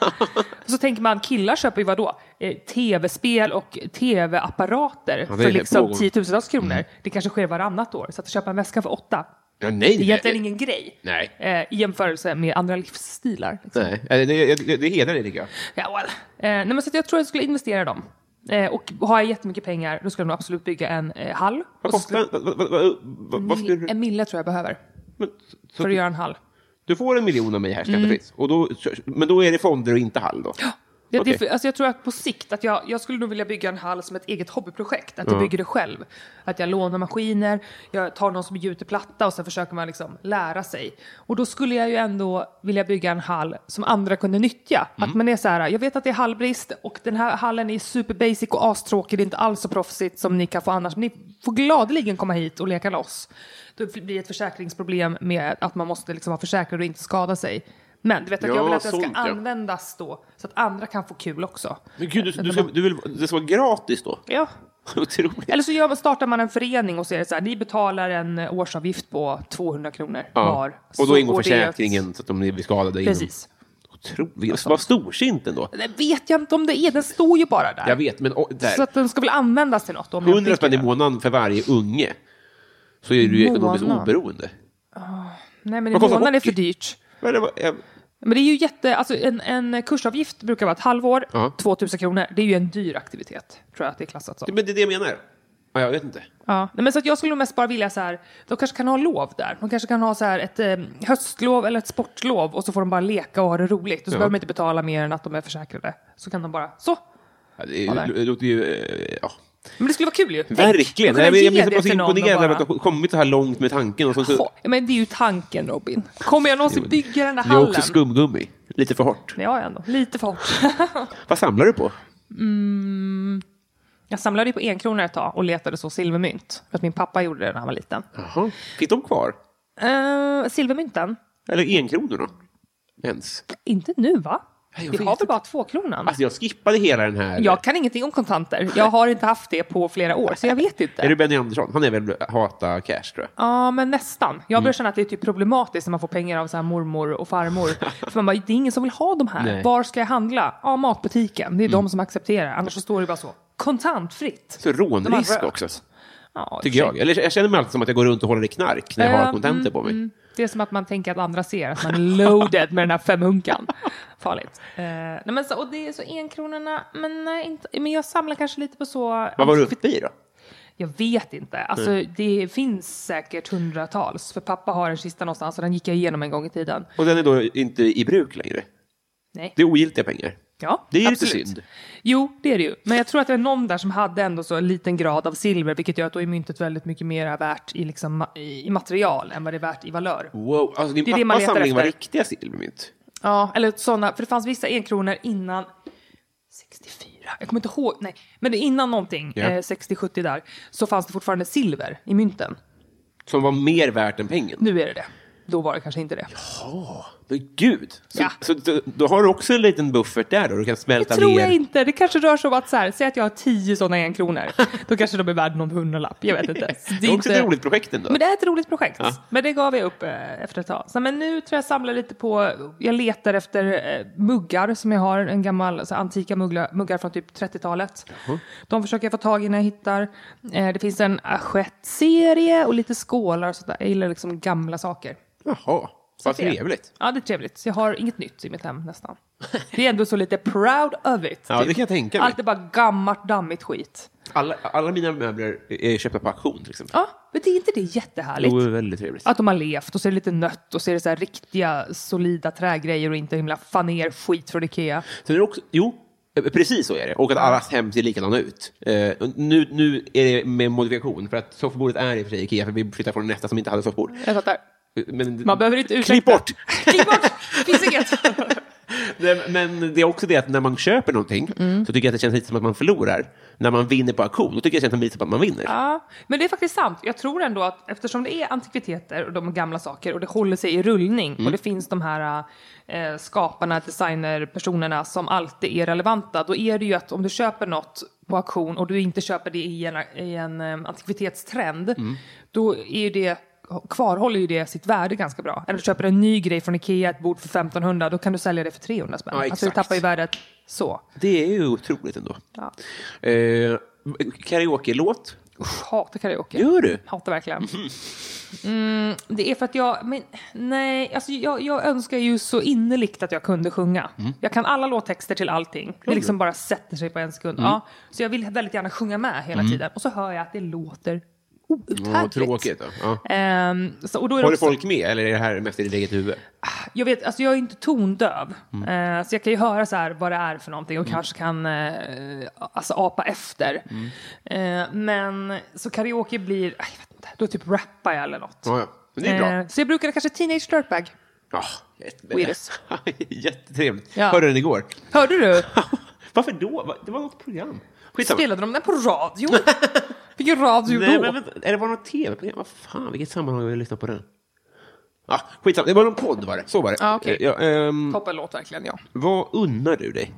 Och så tänker man, killar köper ju vadå? Eh, Tv-spel och tv-apparater är för det liksom pågår. tiotusentals kronor. Det kanske sker varannat år. Så att köpa en väska för åtta, Ja, nej, det är egentligen nej. ingen grej. Nej. Eh, I jämförelse med andra livsstilar. Liksom. Nej, det, det, det, det hedrar dig tycker jag. Ja, well. eh, nej, men så att jag tror jag skulle investera i dem. Eh, och har jag jättemycket pengar, då skulle jag nog absolut bygga en eh, hall. Vad Och så skulle- kostar... Vad, vad, vad, vad, vad skulle du... En mille tror jag behöver men- så- för att göra Mm. en hall. Du får en miljon av mig här skattefritt. Och då, men då är det fonder och inte hall då? Det, Okej. det, för- alltså jag tror att på sikt, att jag, jag skulle nog vilja bygga en hall som ett eget hobbyprojekt. Att jag bygger det själv. Att jag lånar maskiner, jag tar någon som gjuter platta och sen försöker man liksom lära sig. Och då skulle jag ju ändå vilja bygga en hall som andra kunde nyttja. Mm. Att man är så här, jag vet att det är hallbrist och den här hallen är superbasic och astråkig. Det är inte alls så proffsigt som ni kan få annars. Men ni får gladeligen komma hit och leka loss. Då blir det ett försäkringsproblem med att man måste liksom vara försäkrad och inte skada sig. Men du vet att Ja, jag vill att den ska sånt, ja. användas användas då så att andra kan få kul också. Men gud, du, du, ska, du vill, det ska vara gratis då? (laughs) Ja. Otroligt. Eller så gör, man- startar man en förening och så är det så här, ni betalar en årsavgift på 200 kronor var. Och Så då ingår går det ett- försäkringen så att de blir skadade. inom- Precis. Otroligt. Vad storsint ändå. Det vet jag inte om det är, den står ju bara där. Jag vet, men oh, Så där, att den ska väl användas till något. Om jag 100 tycker spänn i det. månaden för varje unge så är du ju ekonomiskt Månad. oberoende. Nej men i Vad kostar månaden är hockey? för dyrt. Men det var, jag, Men det är ju jätte, alltså en, en kursavgift brukar vara ett halvår, Ja. 2000 kronor. Det är ju en dyr aktivitet, tror jag att det är klassat som. men det är det jag menar. Ja, jag vet inte. Ja, nej, men så att jag skulle nog mest bara vilja så här, de kanske kan ha lov där. De kanske kan ha så här ett eh, höstlov eller ett sportlov och så får de bara leka och ha det roligt. Och så Ja. behöver de inte betala mer än att de är försäkrade. Så kan de bara, så. Ja, det, där. det låter ju... eh, Ja. Men det skulle vara kul ju. Tänk, Verkligen! att kunna Nej, men jag blir ge så det bara så till någon och imponerad över bara- att du har kommit så här långt med tanken. Och så, så, Ja, Men det är ju tanken Robin. Kommer jag någonsin bygga den här det är hallen? också skumgummi. Lite för hårt. Det har jag ändå. Lite för hårt. Vad samlar du på? (laughs) jag samlade ju på en krona ett tag och letade så silvermynt. För att min pappa gjorde det när han var liten. Jaha. Fick de kvar? Eh, silvermynten? Eller enkronorna? Ens? Inte nu va? Nej, jag Vi vet har väl inte. bara tvåkronan? Alltså jag skippade hela den här... Jag kan ingenting om kontanter. Jag har inte haft det på flera år, så jag vet Är inte. du Benny Andersson? Han är väl hata cash tror jag. Ja, men nästan. Jag Mm. börjar känna att det är typ problematiskt när man får pengar av så här mormor och farmor. För man bara, det är ingen som vill ha de här. Nej. Mm. Var ska jag handla? Ja, matbutiken. Det är de som accepterar. Annars så står det bara så. Kontantfritt. Så De rånrisk har rökt. också, Ja, tycker jag. Eller jag känner mig alltid som att jag går runt och håller i knark när jag Ja, har kontanter på mig. mm. Det är som att man tänker att andra ser att man är loaded med den här (laughs) femhunkan. Farligt. Eh, nej, men så, och det är så enkronorna, men nej, inte, men jag samlar kanske lite på så... Vad var du uppe i då? Jag vet inte. Alltså, Mm. Det finns säkert hundratals. För pappa har en kista någonstans och den gick jag igenom en gång i tiden. Och den är då inte i bruk längre. Nej. Det är ogiltiga pengar. ja, Det är absolut. lite synd. Jo, det är det ju. Men jag tror att det är någon där som hade ändå så en liten grad av silver, vilket gör att då är myntet väldigt mycket mer värt i, liksom, ma- i i material än vad det är värt i valör. Wow, alltså din Det är det man pappas letar samling var efter. riktiga silvermynt. Ja, eller sådana, för det fanns vissa enkronor innan 64, jag kommer inte ihåg, nej, men det- innan någonting, Ja. eh, 60-70 där, så fanns det fortfarande silver i mynten. Som var mer värt än pengen. Nu är det det. Då var det kanske inte det. Men gud! Så, Ja. så, då, då har du också en liten buffert där då? Du kan Det smälta tror ner. jag inte. Det kanske rör sig om att så här, säg att jag har 10 sådana enkronor. Då kanske de är värda någon hundralapp. Jag vet inte. Så (laughs) Det är också inte- ett roligt projekt ändå. Men det är ett roligt projekt. Ja. Men det gav jag upp eh, efter ett tag. Så, men nu tror jag samlar lite på, jag letar efter eh, muggar som jag har, en gammal, så här, antika muggar, muggar från typ 30-talet. De försöker jag få tag i när jag hittar. Eh, det finns en assiett-serie och lite skålar och sådär. Jag gillar liksom gamla saker. Jaha, vad Så det- trevligt. Ja, det är trevligt. Så jag har inget nytt i mitt hem nästan. Det är ändå så lite proud of it. Ja, det kan jag tänka mig. Allt är bara gammalt, dammigt skit. Alla, alla mina möbler är köpta på auktion till exempel. Ja, men det är inte det jättehärligt? Jo, det är väldigt trevligt. Att de har levt och så är det lite nött och så är det så här riktiga solida trägrejer och inte himla faner skit från Ikea. Sen är det också, jo, eh, precis så är det. Och att allas hem ser likadana ut. Eh, och nu, nu är det med modifikation, för att soffbordet är i och för sig Ikea, för vi flyttar från nästa som inte hade soffbord. Eh, Jag fattar. Men, Man behöver inte ursäkta. Klipp bort! Klipp bort! Finns inget. Nej, Men det är också det att när man köper någonting Mm. så tycker jag att det känns lite som att man förlorar. När man vinner på auktion, då tycker jag det känns lite som att man vinner. Ja, men det är faktiskt sant. Jag tror ändå att eftersom det är antikviteter och de gamla saker och det håller sig i rullning Mm. och det finns de här eh, skaparna, designerpersonerna som alltid är relevanta, då är det ju att om du köper något på auktion och du inte köper det i en, i en eh, antikvitetstrend, Mm. då är ju det kvarhåller ju det sitt värde ganska bra. Eller köper en ny grej från Ikea, ett bord för 1500, då kan du sälja det för 300 spänn. Ja, alltså du exakt. tappar ju värdet så. Det är ju otroligt ändå. Ja. Eh, karaoke-låt? Usch, hatar karaoke. Gör du? (laughs) Hatar verkligen. Mm, det är för att jag, men nej, alltså jag, jag önskar ju så innerligt att jag kunde sjunga. Mm. Jag kan alla låttexter till allting. Det liksom bara sätter sig på en sekund. Mm. Ja, så jag vill väldigt gärna sjunga med hela tiden. Och så hör jag att det låter Ja, outhärdligt. tråkigt. Då. Ja. Ehm, så, och då är det Håller också, folk med eller är det här mest i ditt eget huvud? jag, vet, alltså jag är inte tondöv, Mm. Eh, så jag kan ju höra så här vad det är för någonting och kanske kan eh, alltså apa efter. Mm. Eh, men så karaoke blir, jag vet inte, då typ rappar jag eller något. Ja, ja. Men det är bra. Eh, Så jag brukade kanske Teenage Dirtbag. Ja, jätte- Weirdos. (laughs) Jättetrevligt. Ja. Hörde du den igår? Hörde du? (laughs) Varför då? Va- Det var något program. Skitsamma. Spelade de den på (laughs) radio? Vilken radio Nej, då? men vänta. Är det var något tv-program? Vad fan, vilket sammanhang har vi lyssnat på den? Ah, skitsamma, det var någon podd var det. Så var det. Ja, okej. Eh, ja, ehm, Toppenlåt verkligen, ja. vad unnar du dig?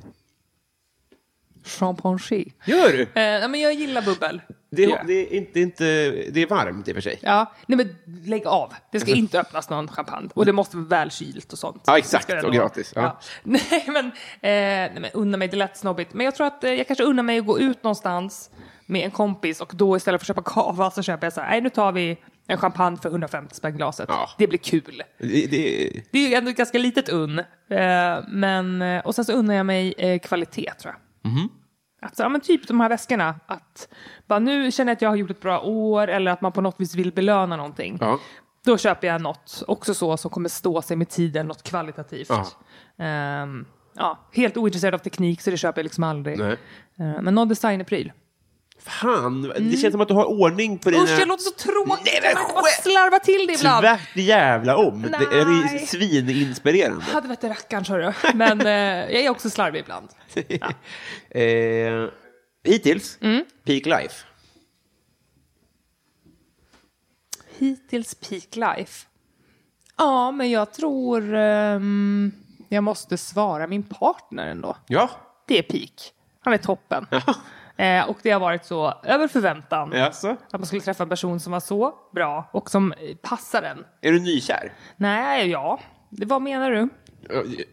Champagne. Gör du? Eh, nej, men jag gillar bubbel. Det, Gör jag. det, är inte, inte, det är varmt i och för sig. Ja, nej men lägg av. Det ska inte öppnas någon champagne. Och det måste vara välkylt och sånt. Ja, exakt. Det ska det Och nog- gratis. Ja. (laughs) Nej, men, eh, nej, men unna mig, det lät snobbigt. Men jag tror att eh, jag kanske unnar mig att gå ut någonstans med en kompis och då istället för att köpa kava så köper jag så här, nej nu tar vi en champagne för 150 spänn glaset. Ja. Det blir kul. Det, det, Det är ju ändå ett ganska litet unn. Eh, men, eh, och sen så unnar jag mig eh, kvalitet tror jag. Mhm. Att, så, ja, men typ de här väskorna. Att bara, nu känner jag att jag har gjort ett bra år eller att man på något vis vill belöna någonting. ja. Då köper jag något, också så, som kommer stå sig med tiden, något kvalitativt. Ja. Ehm, ja, helt ointresserad av teknik så det köper jag liksom aldrig. Nej. Ehm, men någon designerpryl. Fan, det känns som att du har ordning på dina... Mm. Usch, jag låter så tråkig! Nej, Nej, men men, jag bara skit! slarva till det ibland! Tvärt jävla om. Det är Nej. svininspirerande. Hade varit rackarns hörru. Men eh, jag är också slarvig ibland. (laughs) eh, hittills, Mm. peak life. Hittills peak life. Ja, men jag tror ehm, jag måste svara min partner ändå. Ja. Det är peak. Han är toppen. Eh, och det har varit så över förväntan. Jaså? Att man skulle träffa en person som var så bra och som eh, passar en. Är du nykär? Nej, ja. Det, vad menar du?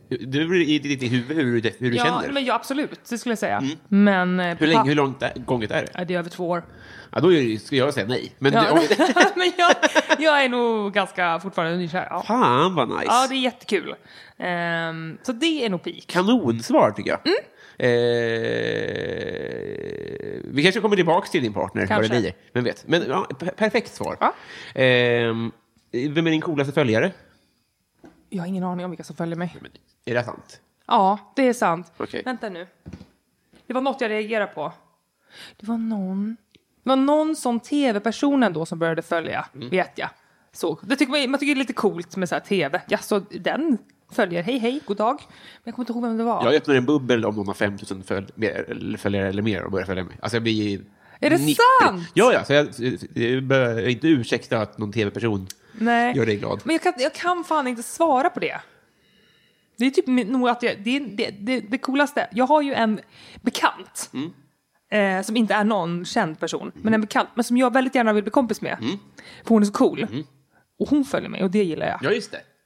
Du i ditt huvud hur du, hur du Ja, känner. Mm. men ja, absolut. Det skulle jag säga. Men... eh, Hur, pa- länge, hur långt är, gånget är det? Ja, det är över två år. Ja, då är det, skulle jag säga nej. Men Ja. det, (laughs) om, men jag, jag är nog ganska fortfarande nykär. Ja. fan vad nice. ja, det är jättekul. Ehm, så det är nog peak. Kanonsvar tycker jag. Mm. Eh, vi kanske kommer tillbaka till din partner, vad det Kanske. blir. Vem vet. Men ja, per- perfekt svar. Ja. Ehm, vem är din coolaste följare? Jag har ingen aning om vilka som följer mig. Är det sant? Ja, det är sant. Okej. Vänta nu. Det var något jag reagerade på. Det var någon... Det var någon sån tv-person ändå som började följa, vet jag. Så, det tycker man, man tycker det är lite coolt med så här tv. Ja, så den följer. Hej, hej, god dag. Men jag kommer inte ihåg vem det var. Jag öppnar en bubbel om de har 5000 följ mer- eller följare eller mer och börjar följa mig. Alltså jag blir... Är det 90. sant? Ja, ja. Så jag, jag behöver inte ursäkta att någon tv-person Nej. gör dig glad. Men jag kan, jag kan fan inte svara på det. Det är typ min- nog att jag, det, är- det, det, det coolaste, jag har ju en bekant. Mm. Eh, som inte är någon känd person, men en bekant. Men som jag väldigt gärna vill bli kompis med. Mm. För hon är så cool. Och hon följer mig och det gillar jag. Ja, just det.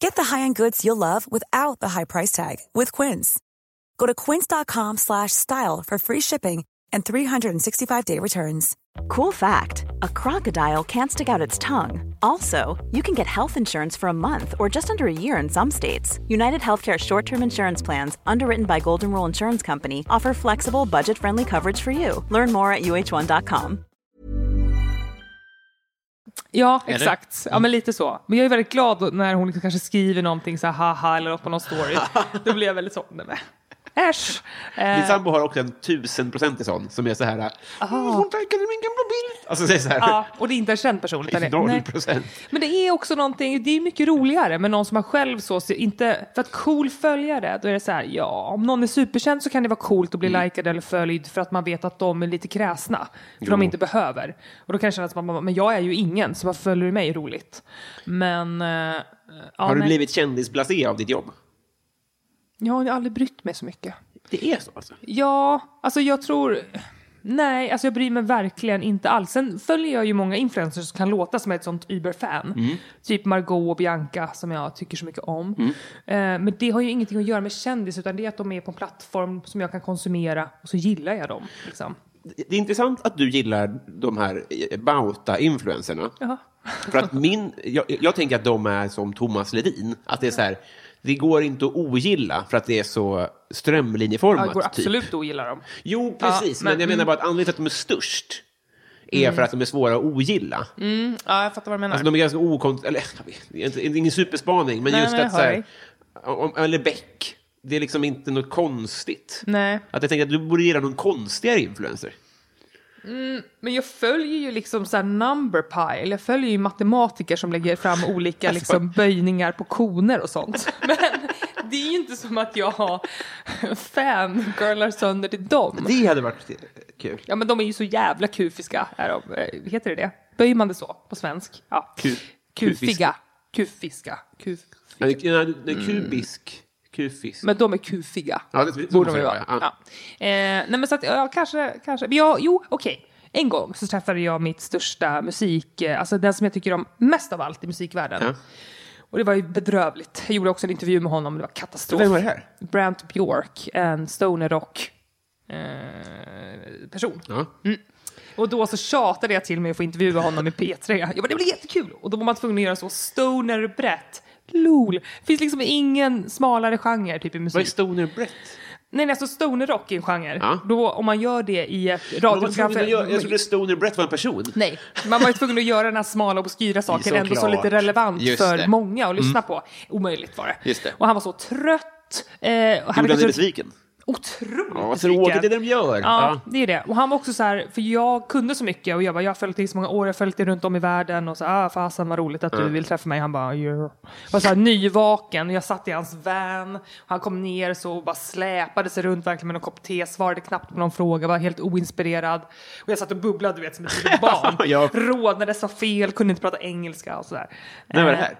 Get the high-end goods you'll love without the high price tag with Quince. Go to quince.com slash style for free shipping and 365-day returns. Cool fact a crocodile can't stick out its tongue. Also, you can get health insurance for a month or just under a year in some states. United Healthcare short term insurance plans, underwritten by Golden Rule Insurance Company, offer flexible, budget friendly coverage for you. Learn more at uh1.com. Ja, Eller? exakt. Mm. Ja, men lite så. Men jag är väldigt glad när hon liksom kanske skriver någonting så här haha eller något på (laughs) någon story. Då blir jag väldigt så, nej men äsch. Min Eh, sambo har också en tusenprocentig sån som är så här... "Mm, Hon verkade min gamla bild. Alltså det är så här... (laughs) ja, och det är inte en känd person. Utan det, Noll nej. procent. Men det är också någonting, det är mycket roligare med någon som har själv så, så inte, för att cool följare, då är det så här, ja, om någon är superkänd så kan det vara coolt att bli Mm. likad eller följd för att man vet att de är lite kräsna, för de inte behöver. Och då kan det kännas som att man, men jag är ju ingen, så vad följer du mig roligt? Men, eh, ja, Har du nej. blivit kändisblasé av ditt jobb? Jag har aldrig brytt mig så mycket. Det är så alltså? Ja, alltså jag tror... Nej, alltså jag bryr mig verkligen inte alls. Sen följer jag ju många influencers som kan låta som ett sånt Uber-fan. Typ Margot och Bianca som jag tycker så mycket om. Eh, men det har ju ingenting att göra med kändis utan det är att de är på en plattform som jag kan konsumera och så gillar jag dem. Liksom. Det är intressant att du gillar de här eh, Bauta-influencerna. Ja. För att min, jag, jag tänker att de är som Thomas Ledin. Att det är så här, det går inte att ogilla för att det är så strömlinjeformat. Jag går typ. absolut att ogilla dem. Jo, precis. men, Ja, men- Mm. jag menar bara att anledningen till att de är störst är för att de är svåra att ogilla. Ja, jag fattar vad du menar. Alltså de är ganska okont... Eller, jag vet, det är inte- det är ingen superspaning, men Nej, just men jag att så hör här, om, Eller Beck. Det är liksom inte något konstigt. Nej. Att jag tänker att du borde gilla någon konstigare influencer. Men jag följer ju liksom så här number pile. Jag följer ju matematiker som lägger fram olika liksom böjningar på koner och sånt. (laughs) Men det är ju inte som att jag har fangirlar sönder till dem. Det hade varit kul. Ja men de är ju så jävla kufiska. Är de, eh, heter det det? Böjer man det så på svensk? Ja. Ku- kufiga. Kufiska. Kuf. Nej, nej, kubisk. Kufisk. Men de är kufiga. Ja, det- det- borde så de ju är det, vara. ja. Ja. Eh, nej men så att, ja kanske, kanske. Men jag, jo okej. En gång så träffade jag mitt största musik, eh, alltså den som jag tycker om mest av allt i musikvärlden. Ja. Och det var ju bedrövligt. Jag gjorde också en intervju med honom, det var katastrof. Vem var det här? Brant Bjork, en stoner rock eh, person. Ja. Och då så tjatade jag till mig att få intervjua honom i P3. Jag bara, det blir jättekul! Och då var man tvungen att göra så stoner-brett. LOL! Finns liksom ingen smalare genre typ i Vad är musik. stoner brett? Nej, nej, alltså stoner-rock är en genre. Ja. Då, om man gör det i ett Jag, var radioprogram... tvungen att göra- jag trodde stoner brett var en person. Nej, man var ju tvungen att göra den här smala (laughs) och obskyra saken ändå så Såklart. lite relevant Just för det. Mm. många att lyssna på. Omöjligt var det. Just det. Och han var så trött. Eh, och han Gjorde han dig kanske- besviken? Otroligt Ja, vad besviken. tråkigt det är de gör. Ja, det är det. Och han var också så här, för jag kunde så mycket och jag bara, jag har följt dig i så många år, jag har följt dig runt om i världen och så, ah fasen vad roligt att du Mm. vill träffa mig. Han bara, yeah. Var så här nyvaken och jag satt i hans van och han kom ner så och bara släpade sig runt verkligen med en kopp te, svarade knappt på någon fråga, var helt oinspirerad. Och jag satt och bubblade, du vet, som (laughs) ett litet barn. Ja. Rodnades, var fel, kunde inte prata engelska och sådär. När var det här?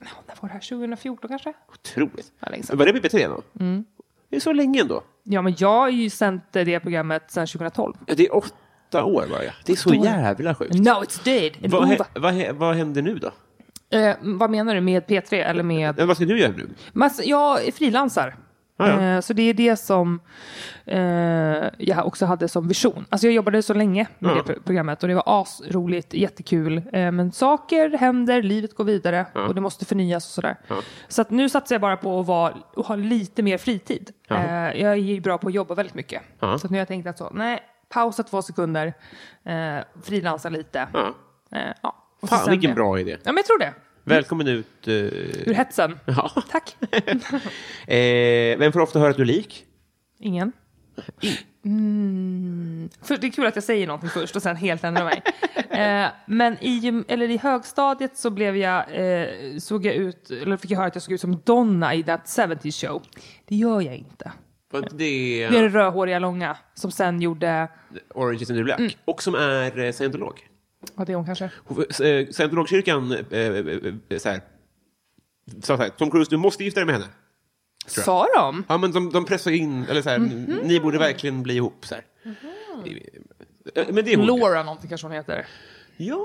När var det här? 2014 kanske? Otroligt. Ja, länge sedan. Mm. Var det BB3 då? Det är så länge ändå. Ja, men jag har ju sänt det programmet sedan 2012. Ja, Det är åtta år bara. ja. Det är så jävla sjukt. Now it's dead! Oh, And Vad, over. hä- vad, hä- vad händer nu då? Eh, vad menar du med P3 eller med... Eh, Vad ska du göra nu? Men alltså, jag är frilansar. Ah, Eh, Så det är det som eh, jag också hade som vision. Alltså jag jobbade så länge med det pro- programmet och det var asroligt, jättekul. Eh, men saker händer, livet går vidare och det måste förnyas och sådär. Så att nu satsar jag bara på att vara, och ha lite mer fritid. Eh, jag är ju bra på att jobba väldigt mycket. Så att nu har jag tänkt att så, nej, pausa två sekunder, eh, frilansa lite. Ja. Eh, ja. Och så Fan, sen vilken det. bra idé. Ja, men jag tror det. Välkommen ut. eh, (laughs) Ur hetsen. Ja. (laughs) Tack. Eh, vem får ofta höra att du är lik? Ingen. Mm. För det är kul att jag säger någonting först och sen helt (laughs) ändrar mig. eh, men i, gym- eller i högstadiet så blev jag, eh, såg jag ut, eller fick jag höra att jag såg ut som Donna i That 70 Show. Det gör jag inte. För att Det Det är är det rödhåriga långa som sen gjorde, Orange is the new black. Mm. Och som är eh, scientolog. vad är hon kanske? Hon- eh, Scientologkyrkan, eh, eh, eh, så här. Så här, Tom Cruise, du måste gifta dig med henne. jag. Sa de? Ja, men de, de pressar in, eller så här, Mhm. ni borde verkligen bli ihop. Så här. Eh, Men det är hon. Laura någonting kanske hon heter. Ja.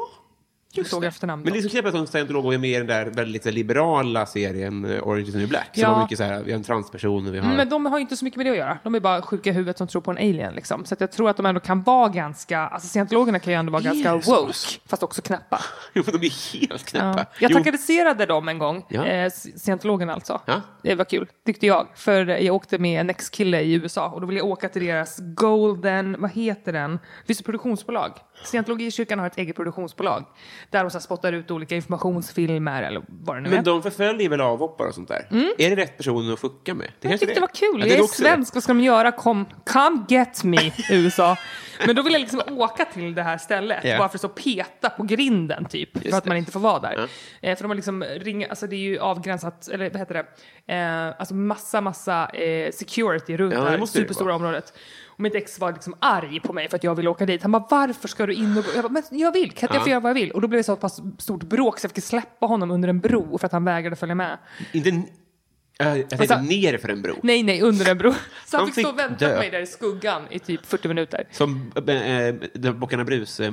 Jag såg efternamnet. Men det är så knäppt att de scientologer är med i den där väldigt så här liberala serien eh, Orange is the new black. Som Ja. har mycket så här, vi har en transperson, vi har... Mm, Men de har ju inte så mycket med det att göra. De är bara sjuka i huvudet som tror på en alien. Liksom. Så att jag tror att de ändå kan vara ganska, alltså scientologerna kan ju ändå vara ganska woke, fast också knäppa. (laughs) Jo, men de är helt knäppa. Ja. Jag Jo, trakasserade dem en gång, Ja. eh, scientologerna alltså. Ja. Det var kul, tyckte jag. För jag åkte med en ex-kille i USA och då ville jag åka till deras Golden, vad heter den? Det finns ett produktionsbolag. Scientologikyrkan har ett eget produktionsbolag. Där de så här spottar ut olika informationsfilmer eller vad det nu Men är. de förföljer väl avhoppare och sånt där? Är det rätt person att fucka med? Det Jag kanske tyckte det var kul. Ja, jag är också svensk, vad ska de göra? Kom, come (laughs) get me, USA. Men då vill jag liksom åka till det här stället, Ja. bara för att så peta på grinden typ, för att man inte får vara där. Eh, för de har liksom ringa, alltså det är ju avgränsat, eller vad heter det, eh, alltså massa, massa eh, security runt Ja, det det här måste det ju superstora vara. området. Och mitt ex var liksom arg på mig för att jag ville åka dit. Han bara, varför ska du in och gå? Jag bara, men jag vill, kan inte jag få göra vad jag vill? Och då blev det så pass stort bråk så jag fick släppa honom under en bro för att han vägrade följa med. Inte... n- Ja, Jag tänkte Alltså- ner för en bro. Nej, nej, under en bro. Så han Han fick stå och fick vänta dö. på mig där i skuggan i typ 40 minuter. Som eh, eh, det Bockarna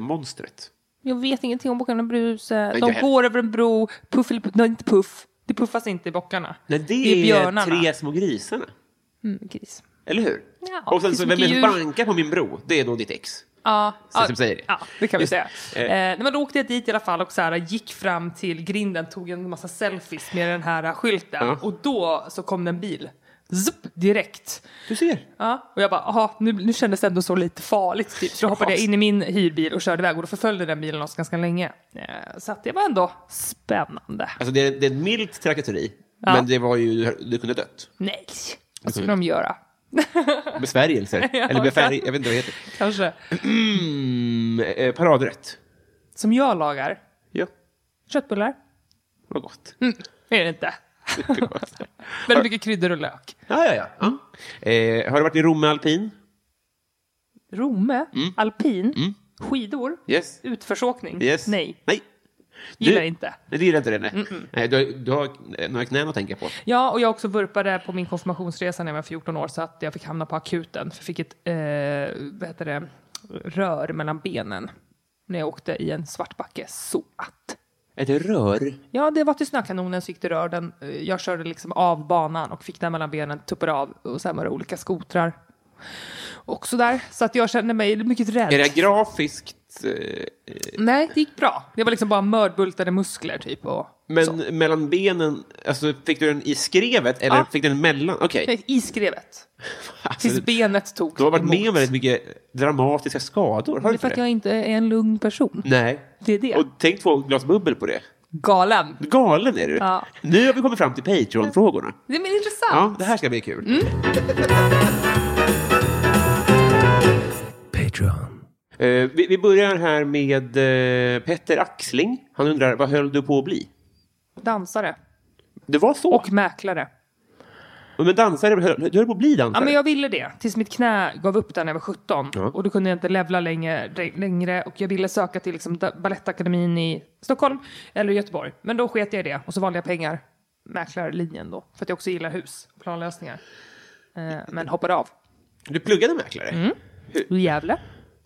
Bruse-monstret. Jag vet ingenting om Bockarna Bruse. inte De jag går över en bro. Puff eller puff. Nej, inte puff. Det puffas inte i bockarna. Nej, det, är björnarna. är tre små grisarna. Mm, gris. Eller hur? Ja, och sen det är så, så vem är mycket det som djur. bankar på min bro? Det är då ditt ex. Ja, Så ja, som säger det. ja, det kan vi Just säga. det. Eh, nej, men då åkte jag dit i alla fall och så här, gick fram till grinden, tog en massa selfies med den här skylten. Ja. Och då så kom det en bil. Zup, direkt. Du ser. Ja, och jag bara, aha, nu, nu kändes det ändå så lite farligt typ. Så då hoppade jag in i min hyrbil och körde iväg och då förföljde den bilen oss ganska länge. Eh, Så att det var ändå spännande. Alltså, det, är, det är ett milt trakasseri, men det var ju, du kunde dött. Nej, vad Alltså- skulle de göra? (laughs) Besvärjelser. Eller befär, jag vet inte vad det heter. Kanske. Mm, eh, paradrätt. Som jag lagar. Ja, Köttbullar? vad (laughs) gott. Mm, är det inte. Väldigt mycket kryddor och lök. Ja, ja, ja. ja. Eh, har du varit i Romme alpin? Rome? Alpin? Skidor? Mm. Yes. Utförsåkning? Yes. Nej, Nej. gillar Du- inte. Nej, du gillar inte det? Nej. nej du, har- du har eh, några knän att tänka på. Ja, och jag också vurpade på min konfirmationsresa när jag var 14 år så att jag fick hamna på akuten. För jag fick ett eh, vad heter det, rör mellan benen när jag åkte i en svartbacke. Så att... Ett rör? Ja, det var till snökanonen så gick det rör. Den, eh, jag körde liksom av banan och fick den mellan benen, tuppade av och sen var det olika skotrar. Och sådär. Så att jag kände mig mycket rädd. Är det grafiskt? eh, Nej, det gick bra. Det var liksom bara mördbultade muskler typ. Och Men så. mellan benen, alltså fick du den i skrevet eller Ja. fick du den mellan? Okej. Nej, I skrevet. (laughs) Alltså, Tills benet tog du har varit med emot. om väldigt mycket dramatiska skador, har Det du inte är för att det? jag inte är en lugn person. Nej. Det är det. Och tänk två glas bubbel på det. Galen. Galen är du. Ja. Nu har vi kommit fram till Patreon-frågorna. Det är intressant. Ja, det här ska bli kul. Mm. Patreon. Eh, vi, vi börjar här med eh, Petter Axling. Han undrar, vad höll du på att bli? Dansare Det var så? och mäklare. Men dansare, höll, du höll på att bli dansare? Ja, men jag ville det tills mitt knä gav upp där när jag var 17 Ja. och då kunde jag inte levla länge, längre och jag ville söka till liksom, da- Balettakademin i Stockholm eller Göteborg. Men då sket jag i det och så valde jag pengar, mäklarlinjen då, för att jag också gillar hus, planlösningar. Eh, men hoppade av. Du pluggade mäklare? Gävle.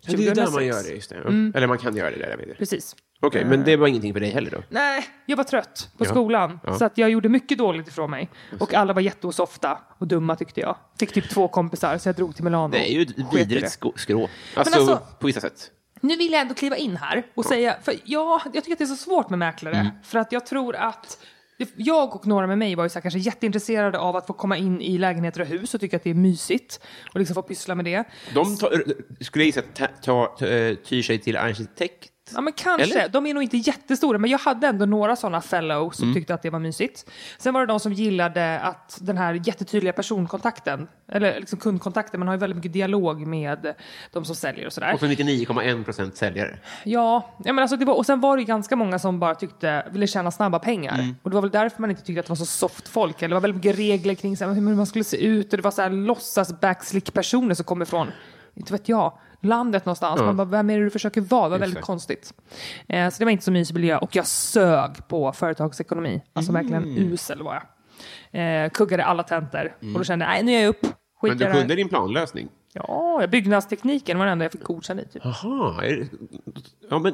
Ja, det är ju där 2006. Mm. man gör det, just det. Eller man kan göra det där, jag vet inte. Precis. Okej, men det var ingenting för dig heller då? Nej, jag var trött på skolan. Så att jag gjorde mycket dåligt ifrån mig. Och alla var jätteosofta och dumma tyckte jag. Fick typ två kompisar så jag drog till Milano. Det är ju ett Sket i vidrigt det. sko- skrå. Alltså, alltså- på vissa sätt. Nu vill jag ändå kliva in här och säga, för ja, jag tycker att det är så svårt med mäklare. Mm. För att jag tror att jag och några med mig var ju så här, kanske jätteintresserade av att få komma in i lägenheter och hus och tycka att det är mysigt och liksom få pyssla med det. De tar, skulle jag gissa ta, ta, ta, eh, tyr sig till arkitekt. Ja men kanske, Eller? de är nog inte jättestora men jag hade ändå några sådana fellow som tyckte att det var mysigt. Sen var det de som gillade att den här jättetydliga personkontakten, eller liksom kundkontakten, man har ju väldigt mycket dialog med de som säljer och sådär. Och så 99,1 procent säljare. Ja, ja men alltså det var, och sen var det ju ganska många som bara tyckte, ville tjäna snabba pengar. Mm. Och det var väl därför man inte tyckte att det var så soft folk. Eller det var väldigt mycket regler kring så här, hur man skulle se ut och det var så här låtsas backslick personer som kommer från, inte vet jag, landet någonstans. Man bara, vem är det du försöker vara? Det var väldigt Exakt. konstigt. Eh, så det var inte så mysig miljö och jag sög på företagsekonomi. Alltså Mm. verkligen usel var jag. Eh, kuggade alla tentor och då kände jag, nej nu är jag upp. Skit Mm. Men i du det här." kunde din planlösning. Ja, byggnadstekniken var det enda jag fick godkänt i. Typ. Jaha. är det- Ja, men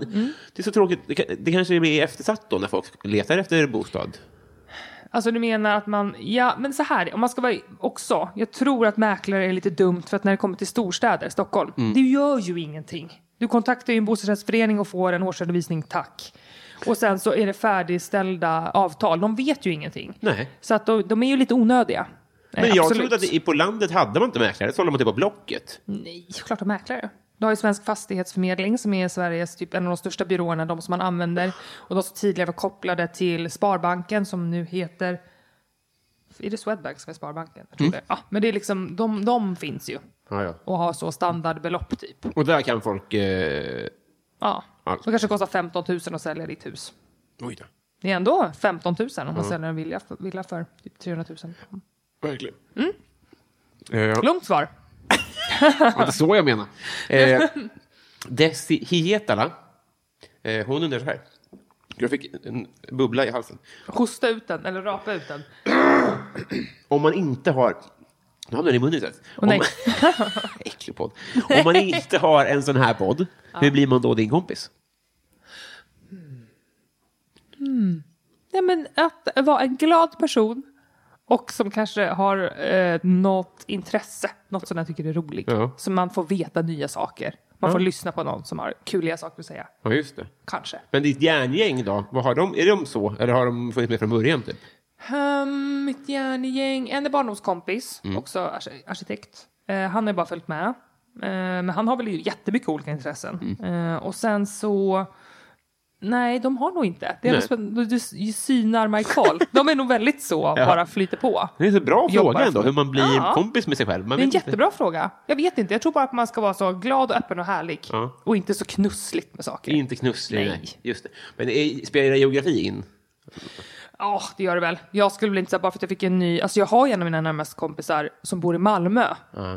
Det är så tråkigt. Det, kan- det kanske blir eftersatt då när folk letar efter bostad. Alltså du menar att man, ja men så här, om man ska vara också, jag tror att mäklare är lite dumt för att när det kommer till storstäder, Stockholm, Mm. det gör ju ingenting. Du kontaktar ju en bostadsrättsförening och får en årsredovisning, tack. Och sen så är det färdigställda avtal, de vet ju ingenting. Nej. Så att de, de är ju lite onödiga. Men jag trodde att i- på landet hade man inte mäklare, så håller man till på Blocket. Nej, klart de mäklare. Du har ju Svensk Fastighetsförmedling som är Sveriges typ en av de största byråerna, de som man använder. Och de som tidigare var kopplade till Sparbanken som nu heter... Är det Swedbank som är Sparbanken? Jag tror det. Ja, men det är liksom, de, de finns ju. Ja, ja. Och har så standardbelopp typ. Och där kan folk... Eh... Ja. Allt. De kanske kostar 15 000 att sälja ditt hus. Oj då. Det är ändå 15 000 om man säljer en villa för, villa för typ 300 000. Verkligen. Mm. Långt svar. Det var inte så jag menar. Eh, Desi Hietala, eh, hon undrar så här. Jag fick en bubbla i halsen. Hosta ut den, eller rapa ut den. Om man inte har... Nu hamnade den i munnen istället. Åh, nej. Om, (laughs) äcklig podd. Om man inte har en sån här podd, hur blir man då din kompis? Nej, men att vara en glad person och som kanske har eh, något intresse, något som jag tycker är roligt. Ja. Så man får veta nya saker. Man får lyssna på någon som har kuliga saker att säga. Ja, just det. Kanske. Men ditt järngäng då? Vad har de, är de så? Eller har de funnits med från början? Typ? Um, mitt järngäng, en är barndomskompis, Mm. också arki- arkitekt. Eh, han har bara följt med. Eh, men han har väl ju jättemycket olika intressen. Mm. Eh, och sen så... Nej, de har nog inte. Det är Nej. nog spänn- du, du synar mig Karl. De är nog (laughs) väldigt så, bara flyter på. Det är en så bra Jobbar fråga ändå, för- hur man blir Ja. kompis med sig själv. Man Det är en vet inte. jättebra fråga. Jag vet inte. Jag tror bara att man ska vara så glad och öppen och härlig. Ja. Och inte så knussligt med Det saker. är Inte knusslig. Nej. Nej. Just det. Men är, spelar geografi in? Ja, det gör det väl. Jag skulle väl inte säga bara för att jag fick en ny... Alltså jag har ju en av mina närmaste kompisar som bor i Malmö.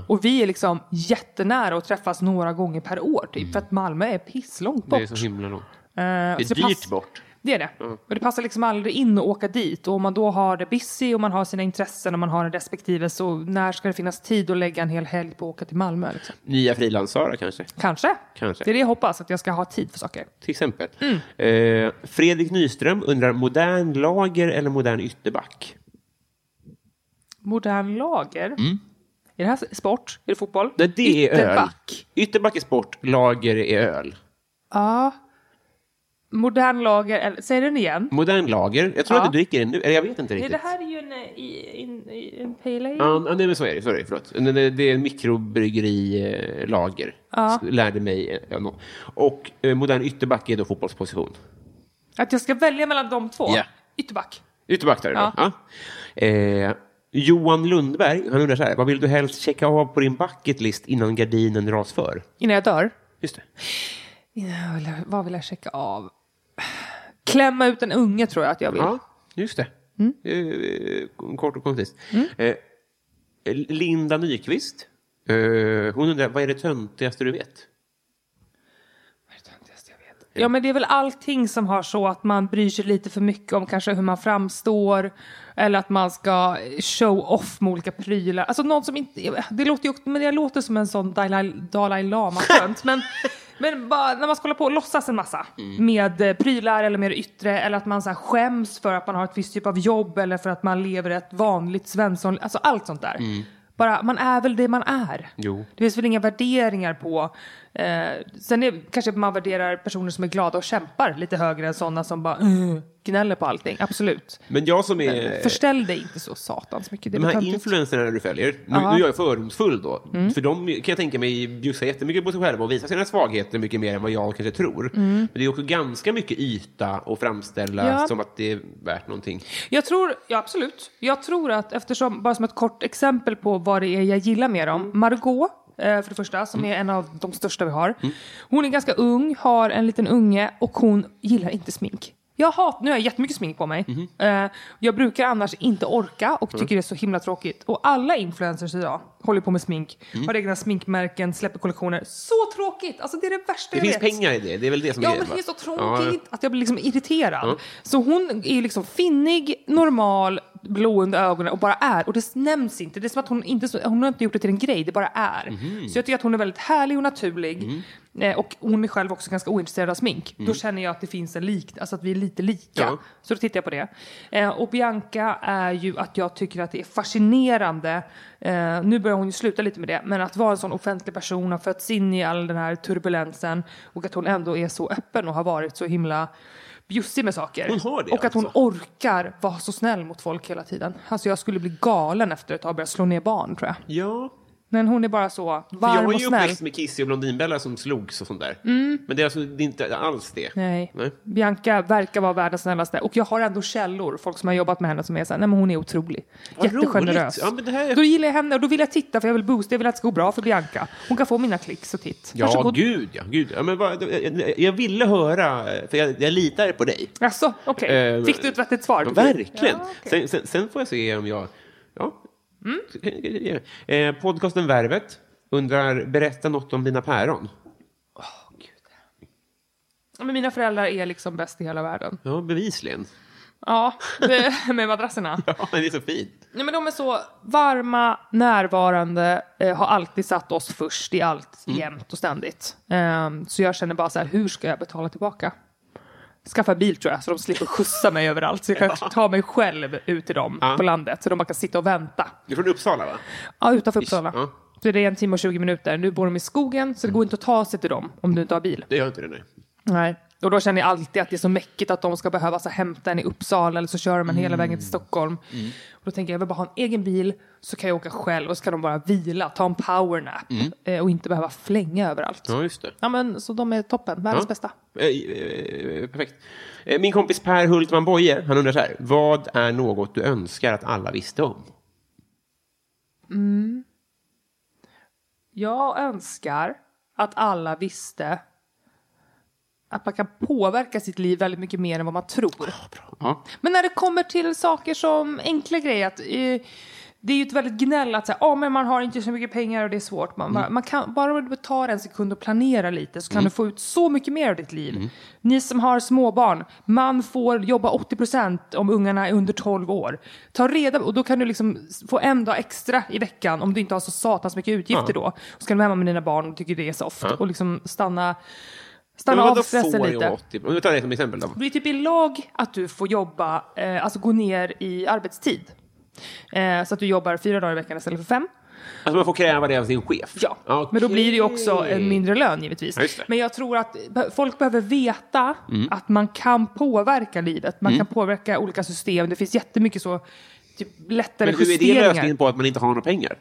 Och vi är liksom jättenära och träffas några gånger per år typ. För att Malmö är pisslångt bort. Mm. Det är så himla långt. Eh, Det så är dyrt bort. Det är det. Och det passar liksom aldrig in att åka dit. Och om man då har det busy och man har sina intressen och man har det respektive så när ska det finnas tid att lägga en hel helg på att åka till Malmö? Liksom? Nya frilansare kanske, Kanske. Kanske. Det är det jag hoppas, att jag ska ha tid för saker. till exempel. Mm. Eh, Fredrik Nyström undrar, modern lager eller modern ytterback? Modern lager? Är det här sport? Är det fotboll? Nej, Mm. det är öl. Ytterback. Ytterback är sport, lager är öl. Ja. Modern lager, eller säg den igen. Modern lager, jag tror Ja. att du dricker det nu, eller jag vet inte Nej, riktigt. det här är ju en, eh, i- in- i- en pale ale. Ja, ja, nej men så är det, sorry, förlåt. Nej, nej, Det är en mikrobryggerilager, ja. lärde mig. eh, någon. Och eh, modern ytterback är då fotbollsposition. Att jag ska välja mellan de två? Ja. Ytterback. Ytterback där Ja. ja. ja. eh, Johan Lundberg, han undrar så här, vad vill du helst checka av på din bucket list innan gardinen dras för? Innan jag dör? Just det. Ja, vill jag- Vad vill jag checka av? Klämma ut en unge tror jag att jag vill. Ja, just det. Eh, kort och koncist. Eh, Linda Nyqvist, eh, hon undrar, vad är det töntigaste du vet? Ja, men det är väl allting som har så att man bryr sig lite för mycket om kanske hur man framstår eller att man ska show off med olika prylar. Alltså någon som inte, det låter ju, men jag låter som en sån Dalai, Dalai Lama-tönt, men Men bara, när man ska hålla på och låtsas en massa med eh, prylar eller med det yttre eller att man så här skäms för att man har ett visst typ av jobb eller för att man lever ett vanligt svensson, alltså allt sånt där. Bara, man är väl det man är. Jo. Det finns väl inga värderingar på... Eh, sen är, kanske man värderar personer som är glada och kämpar lite högre än sådana som bara "Ugh", gnäller på allting. Absolut. Men jag som Eh, är... Förställ dig inte så satans mycket. Det är Eh. De här töntigt. Mm. influencerna du följer, nu, nu är jag fördomsfull då, för de kan jag tänka mig bjussar jättemycket på sig själva och visar sina svagheter mycket mer än vad jag kanske tror. Men det är också ganska mycket yta och framställa Mm. Ja. som att det är värt någonting. Jag tror, ja absolut. Jag tror att eftersom, bara som ett kort exempel på vad det är jag gillar med dem. Mm. Margot, eh, för det första, som är en av de största vi har. Mm. Hon är ganska ung, har en liten unge och hon gillar inte smink. Jag hat, nu har jag jättemycket smink på mig. Mm-hmm. Eh, jag brukar annars inte orka Mm. och tycker det är så himla tråkigt. Och alla influencers idag håller på med smink. Mm. Har egna sminkmärken, släpper kollektioner. Så tråkigt! Alltså det är det värsta Det jag finns vet. pengar i det, det är väl det som Ja, är men det va? är så Ja, tråkigt att jag blir liksom irriterad. Så hon är ju liksom finnig, normal, blå under ögonen och bara är. Och det nämns inte. Det är som att hon inte, hon har inte gjort det till en grej, det bara är. Mhm. Så jag tycker att hon är väldigt härlig och naturlig. Eh, Och hon är själv också ganska ointresserad av smink. Då känner jag att det finns en lik, alltså att vi är lite lika. Mm. Ja. Så då tittar jag på det. Eh, och Bianca är ju att jag tycker att det är fascinerande. Eh, nu börjar hon ju sluta lite med det. Men att vara en sån offentlig person, har fötts in i all den här turbulensen. Och att hon ändå är så öppen och har varit så himla bjussig med saker. Hon har det och att hon alltså? orkar vara så snäll mot folk hela tiden. Alltså jag skulle bli galen efter ett tag och börja slå ner barn tror jag. ja. Men hon är bara så För jag var varm och ju snäll. Mm. uppväxt med Kissy och Blondinbella som slogs och sånt där. Men det är, alltså, det är inte alls det. Nej. Nej. Bianca verkar vara världens snällaste. Och jag har ändå källor, folk som har jobbat med henne som är såhär, nej men hon är otrolig. Vad Jättegenerös. roligt. Ja, men det här- Då gillar jag henne och då vill jag titta för jag vill boosta, jag vill att det ska gå bra för Bianca. Hon kan få mina klicks och titt. Ja, Varsågod. gud ja. Gud. ja men vad, jag, jag ville höra, för jag, jag litar på dig. Alltså, okej. Eh, Fick du ett vettigt svar? Ja, verkligen. Ja, okej. sen, sen, sen får jag se om jag... Ja. Eh, podcasten Värvet undrar, berätta något om dina päron. Ja, Men mina föräldrar är liksom bäst i hela världen. Ja, bevisligen. Ja, (laughs) det- med madrasserna. (laughs) Ja, men det är så fint. Nej, men de är så varma, närvarande, eh, har alltid satt oss först i allt, Mm. jämt och ständigt. Ehm, så jag känner bara så här, hur ska jag betala tillbaka? Skaffa bil tror jag, så de slipper skjutsa mig överallt. Så jag kan ta mig själv ut till dem Ja. på landet, så de bara kan sitta och vänta. Du är från Uppsala, va? Ja, utanför Uppsala. ja. Mm. Så det är en timme och 20 minuter. Nu bor de i skogen, så det går inte att ta sig till dem om du inte har bil. Det gör inte det, nej. Nej. Och då känner jag alltid att det är så mäckigt att de ska behöva så här, hämta en i Uppsala eller så kör de en hela vägen Mm. till Stockholm. Och då tänker jag, jag vill bara ha en egen bil så kan jag åka själv och så kan de bara vila, ta en powernap eh, och inte behöva flänga överallt. Mm. Ja, just det. Ja men så de är toppen, världens Ja. bästa. Eh, eh, Perfekt. Eh, Min kompis Per Hultman Boye, han undrar så här. Vad är något du önskar att alla visste om? Jag önskar att alla visste att man kan påverka sitt liv väldigt mycket mer än vad man tror. Ja. Men när det kommer till saker som enkla grejer, att, eh, det är ju ett väldigt gnäll att säga, ah, men man har inte så mycket pengar och det är svårt. Man, Mm. bara- man kan, bara om du tar en sekund och planerar lite så kan du få ut så mycket mer av ditt liv. Mm. Ni som har småbarn, man får jobba 80% om ungarna är under 12 år. Ta reda och då kan du liksom få en dag extra i veckan om du inte har så satans mycket utgifter då. Och så kan du vara hemma med dina barn och tycker det är soft och liksom stanna, Men stanna av vadå stressen får lite. jag 80? Om vi tar det som exempel då. Det är typ i lag att du får jobba, eh, alltså gå ner i arbetstid. Eh, så att du jobbar fyra dagar i veckan istället för fem. Alltså man får kräva det av sin chef? Ja, men då blir det ju också en mindre lön givetvis. Ja, just det. Mm. men jag tror att be- folk behöver veta att man kan påverka livet. Man kan påverka olika system. Det finns jättemycket så typ, lättare Men hur är det justeringar. lösningen på att man inte har några pengar?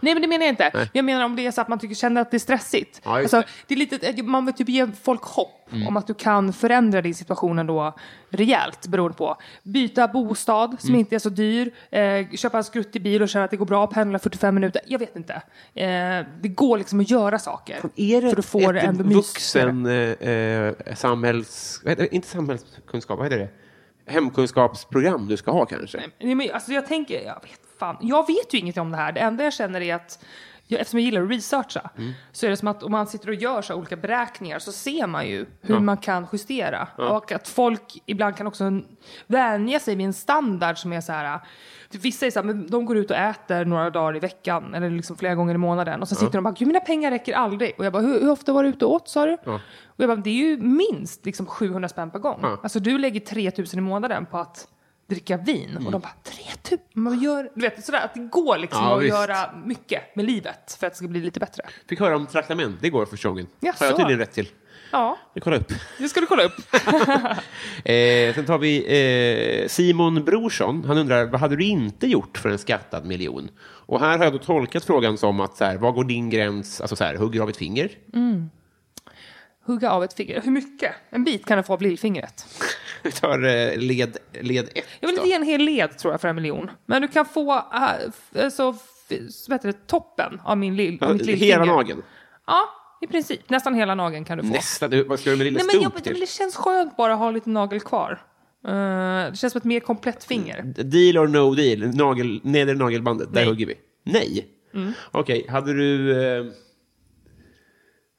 Nej men det menar jag inte. Jag menar om det är så att man tycker, känner att det är stressigt. Ja, just Mm. alltså, det är lite, man vill typ ge folk hopp om att du kan förändra din situation ändå rejält beroende på. Byta bostad Mm. som inte är så dyr, eh, köpa en skruttig bil och känna att det går bra, pendla 45 minuter. Jag vet inte. Eh, det går liksom att göra saker. Är det så du får det ett ändå mysigare. vuxen eh, eh, samhälls... vad heter det? Inte samhällskunskap, vad heter det? Hemkunskapsprogram du ska ha kanske? Nej, men, alltså, jag tänker, jag vet fan. Jag vet ju inget om det här. Det enda jag känner är att jag, eftersom jag gillar att researcha, så är det som att om man sitter och gör så här olika beräkningar så ser man ju hur man kan justera. Och att folk ibland kan också vänja sig vid en standard som är så här, typ vissa är så här, men de går ut och äter några dagar i veckan eller liksom flera gånger i månaden och sen sitter de och bara, gud mina pengar räcker aldrig. Och jag bara, hur, hur ofta var du ute och åt sa du? Och jag bara, det är ju minst liksom 700 spänn per gång. Alltså du lägger 3000 i månaden på att dricka vin Mm. och de bara 3000, man gör, du vet sådär att det går liksom Ja, att visst. göra mycket med livet för att det ska bli lite bättre. Fick höra om traktament, det går första gången. Jaså? Har jag tydligen rätt till. Ja, Vi kollar (laughs) upp. det ska du kolla upp. Eh, sen tar vi eh, Simon Brorsson. Han undrar, vad hade du inte gjort för en skattad miljon? Och här har jag då tolkat frågan som att, så här, vad går din gräns? Alltså så här, hugger du av ett finger? (laughs) Hugga av ett finger. Hur mycket? En bit kan du få av lillfingret. Vi tar eh, led, led ett. Jag vill då. inte ge en hel led tror jag för en miljon. Men du kan få äh, f- så, f- så heter det, toppen av min lill, Ja, mitt lillfinger. Hela nageln. Ja, i princip. Nästan hela nageln kan du få. Nästa, du, vad ska du med lilla Nej, men, stump jag, men till? det känns skönt bara att ha lite nagel kvar. Eh, det känns som ett mer komplett finger. Deal or no deal? Nagel, nedre nagelbandet, där Nej. Mm. hugger vi. Nej? Okej, hade du... Eh,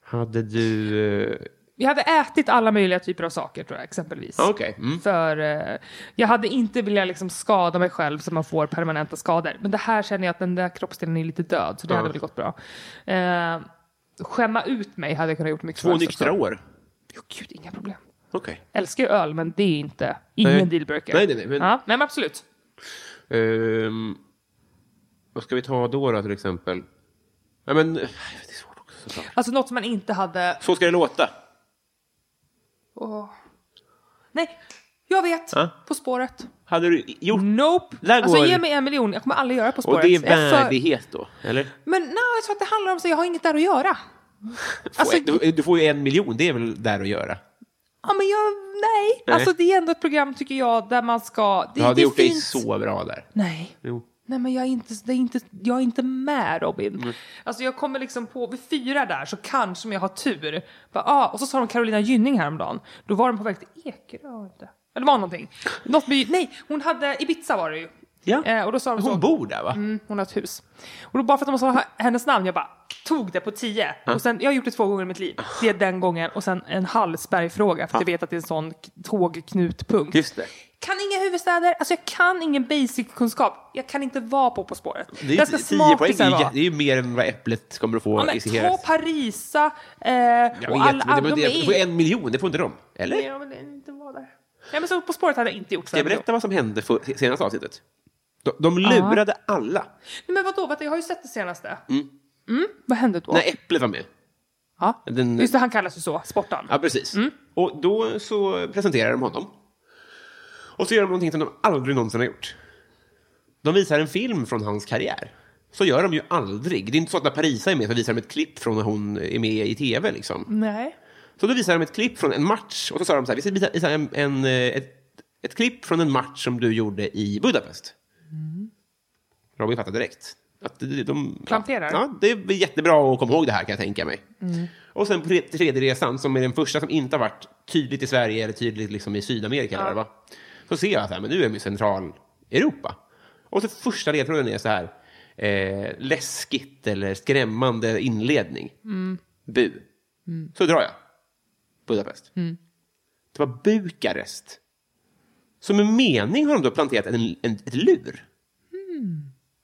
hade du... Eh, Jag hade ätit alla möjliga typer av saker tror jag, exempelvis. Okej. Mm. För eh, jag hade inte velat liksom skada mig själv så man får permanenta skador. Men det här känner jag att den där kroppsdelen är lite död, så det hade väl gått bra. Eh, skämma ut mig hade jag kunnat gjort mycket Två nyktra år? Jo, gud, inga problem. Okej. Älskar ju öl, men det är inte, ingen Nej. dealbreaker. Nej, nej, nej, men- Ja, nej, men absolut. Ehm, vad ska vi ta då, då till exempel? Nej, men... eh, Det är svårt också. såklart. Alltså något som man inte hade... Så ska det låta. Åh. Nej, jag vet. Ja. På spåret. Hade du gjort... Nope. Där Alltså går- ge mig en miljon, jag kommer aldrig göra På Och spåret. det är Jag är för- värdighet då, eller? Men nej, jag tror att det handlar om så jag har inget där att göra. Få Alltså, en- du, du får ju en miljon, det är väl där att göra? Ja, men jag, nej. Nej. Alltså det är ändå ett program tycker jag där man ska... Det, Du hade det är gjort dig fint. så bra där. Nej. Jo. Nej men jag är inte, det är inte, jag är inte med Robin. Mm. Alltså jag kommer liksom på, vid fyra där så kanske om jag har tur. Bara, ah, och så sa de Carolina Gynning häromdagen. Då var de på väg till Ekerö. var det inte? Eller det var någonting. Något by, nej, hon hade, Ibiza var det ju. Ja. Eh, och då sa de så, Hon bor där, va? Mm, hon har ett hus. Och då bara för att de sa h- hennes namn, jag bara tog det på tio. Och sen, jag har gjort det två gånger i mitt liv. Det är den gången och sen en Hallsbergfråga för att jag vet att det är en sån k- tågknutpunkt. Just det. Kan inga huvudstäder, alltså jag kan ingen basic-kunskap. Jag kan inte vara på På spåret. Det är, jag ska 10 poäng, det smartisar är, vara. ju- det är ju mer än vad Äpplet kommer att få Ja, i men sin hela... ta Parisa eh, Jag och vet, alla men det, andra. men de det, du får är... en miljon, det får inte de. Eller? Nej, jag vill inte vara där. Nej, men så På spåret hade jag inte gjort. Ska jag berätta vad som hände för, senaste avsnittet? De, de lurade alla Nej, men vadå, Vänta, jag har ju sett det senaste. Mm. Vad hände då? när Äpplet var med. Ja. Den- Just det, han kallas ju så, sportaren. Ja, precis. Mm. Och då så presenterar de honom. Och så gör de någonting som de aldrig någonsin har gjort. De visar en film från hans karriär. Så gör de ju aldrig. Det är inte så att när Parisa är med så visar de ett klipp från när hon är med i tv. Liksom. Nej. Så då visade de ett klipp från en match och så sa de så här, vi ska visa visa en, en, eh, ett, ett klipp från en match som du gjorde i Budapest. Robin fattade direkt. Att de, de, Planterar. Ja, det är jättebra att komma ihåg det här kan jag tänka mig. Och sen på tre- tredje resan, som är den första som inte har varit tydligt i Sverige eller tydligt liksom i Sydamerika, eller va? så ser jag att men nu är vi i Centraleuropa. Och så första ledtråden är så här, eh, läskigt eller skrämmande inledning. Bu. Så drar jag. Budapest. Mm. Det var Bukarest. Så med mening har de då planterat en, en, ett lur.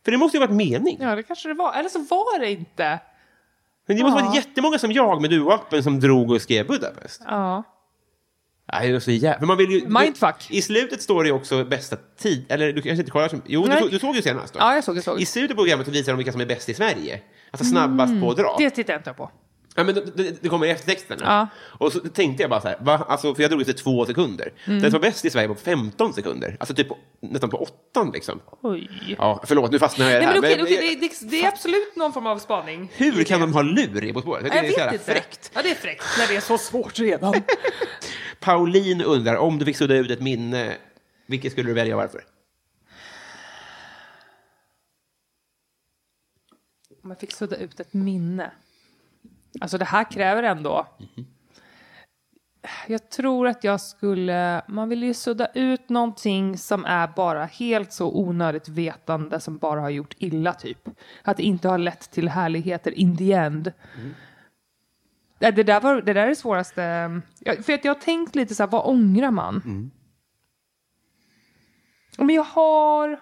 För det måste ju ha varit mening. Mm. Ja, det kanske det var. Eller så var det inte. Men det måste ha varit jättemånga som jag med duo-appen som drog och skrev Budapest. Ja. Nej, det är så jävla... Men man vill ju... Mindfuck. I slutet står det ju också bästa tid... Eller du kanske inte kollar? Som, jo, du, Nej. såg- du såg ju senast. Då. Ja, jag såg, Mm. jag såg. I slutet på programmet så visar de vilka som är bäst i Sverige. Alltså snabbast på att dra. Det tittar jag inte på. Ja, men det- det, det kommer i eftertexterna. Ja. Och så tänkte jag bara så här, va? Alltså, för jag drog efter två sekunder. Mm. Den som var bäst i Sverige var på 15 sekunder. Alltså typ på, nästan på åttan liksom. Oj. Ja, förlåt, nu fastnar jag i det Nej, här. men okej, Men- okej, det, det, det är absolut någon form av spaning. Hur kan de ha lur i På spåret? Jag så vet jävla inte. fräckt. Ja, det är fräckt när det är så svårt redan. Pauline undrar, om du fick sudda ut ett minne, vilket skulle du välja och varför? Om jag fick sudda ut ett minne. Alltså det här kräver ändå... Jag tror att jag skulle... Man vill ju sudda ut någonting som är bara helt så onödigt vetande som bara har gjort illa, typ. Att det inte har lett till härligheter in the end. Nej, Det, där var, det där är det svåraste. Jag, för att jag har tänkt lite så här, vad ångrar man? Ja, Men jag har...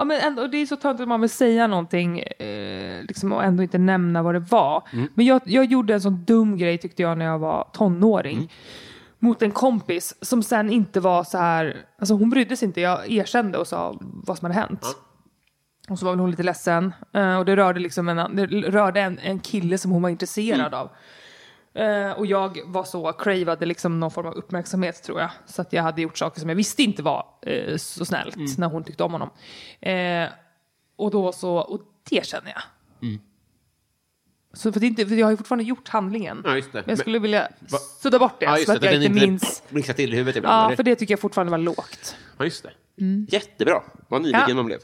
Ja, men ändå, det är så töntigt att man vill säga någonting eh, liksom, och ändå inte nämna vad det var. Men jag, jag gjorde en sån dum grej tyckte jag när jag var tonåring. Mot en kompis som sen inte var så här... Alltså hon brydde sig inte. Jag erkände och sa vad som hade hänt. Och så var väl hon lite ledsen. Eh, och det rörde, liksom en, det rörde en, en kille som hon var intresserad Mm. av. Eh, och jag var så, craveade liksom någon form av uppmärksamhet tror jag. Så att jag hade gjort saker som jag visste inte var eh, så snällt Mm. när hon tyckte om honom. Eh, och då så, och det känner jag. Mm. Så för, det är inte, för jag har ju fortfarande gjort handlingen. Ja, just det. Men jag skulle Men- vilja Va- sudda bort det Ja, så just att det. jag Den inte minns. inte blixtrar till i huvudet ibland. Ja, eller? för det tycker jag fortfarande var lågt. Ja, just det. Jättebra. Vad nyfiken Ja. man blev.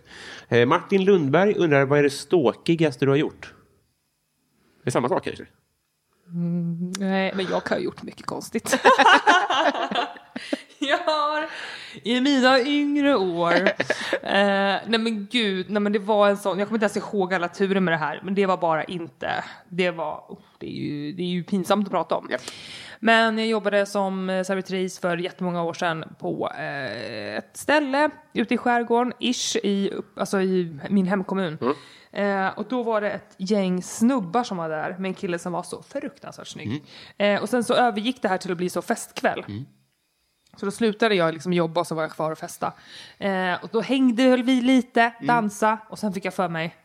Eh, Martin Lundberg undrar vad är det ståkigaste du har gjort? Det är samma sak kanske? Nej, men jag har gjort mycket konstigt. (laughs) jag har i mina yngre år... Eh, nej men gud, nej men det var en sån... Jag kommer inte ens ihåg alla turer med det här, men det var bara inte... Det var... oh, det, är ju, det är ju pinsamt att prata om. Japp. Men jag jobbade som eh, servitris för jättemånga år sedan på eh, ett ställe ute i skärgården, ish, i, upp- alltså i min hemkommun. Eh, och då var det ett gäng snubbar som var där med en kille som var så fruktansvärt snygg. Eh, och sen så övergick det här till att bli så festkväll. Så då slutade jag liksom jobba och så var jag kvar och festa. Eh, och då hängde höll vi lite, dansa och sen fick jag för mig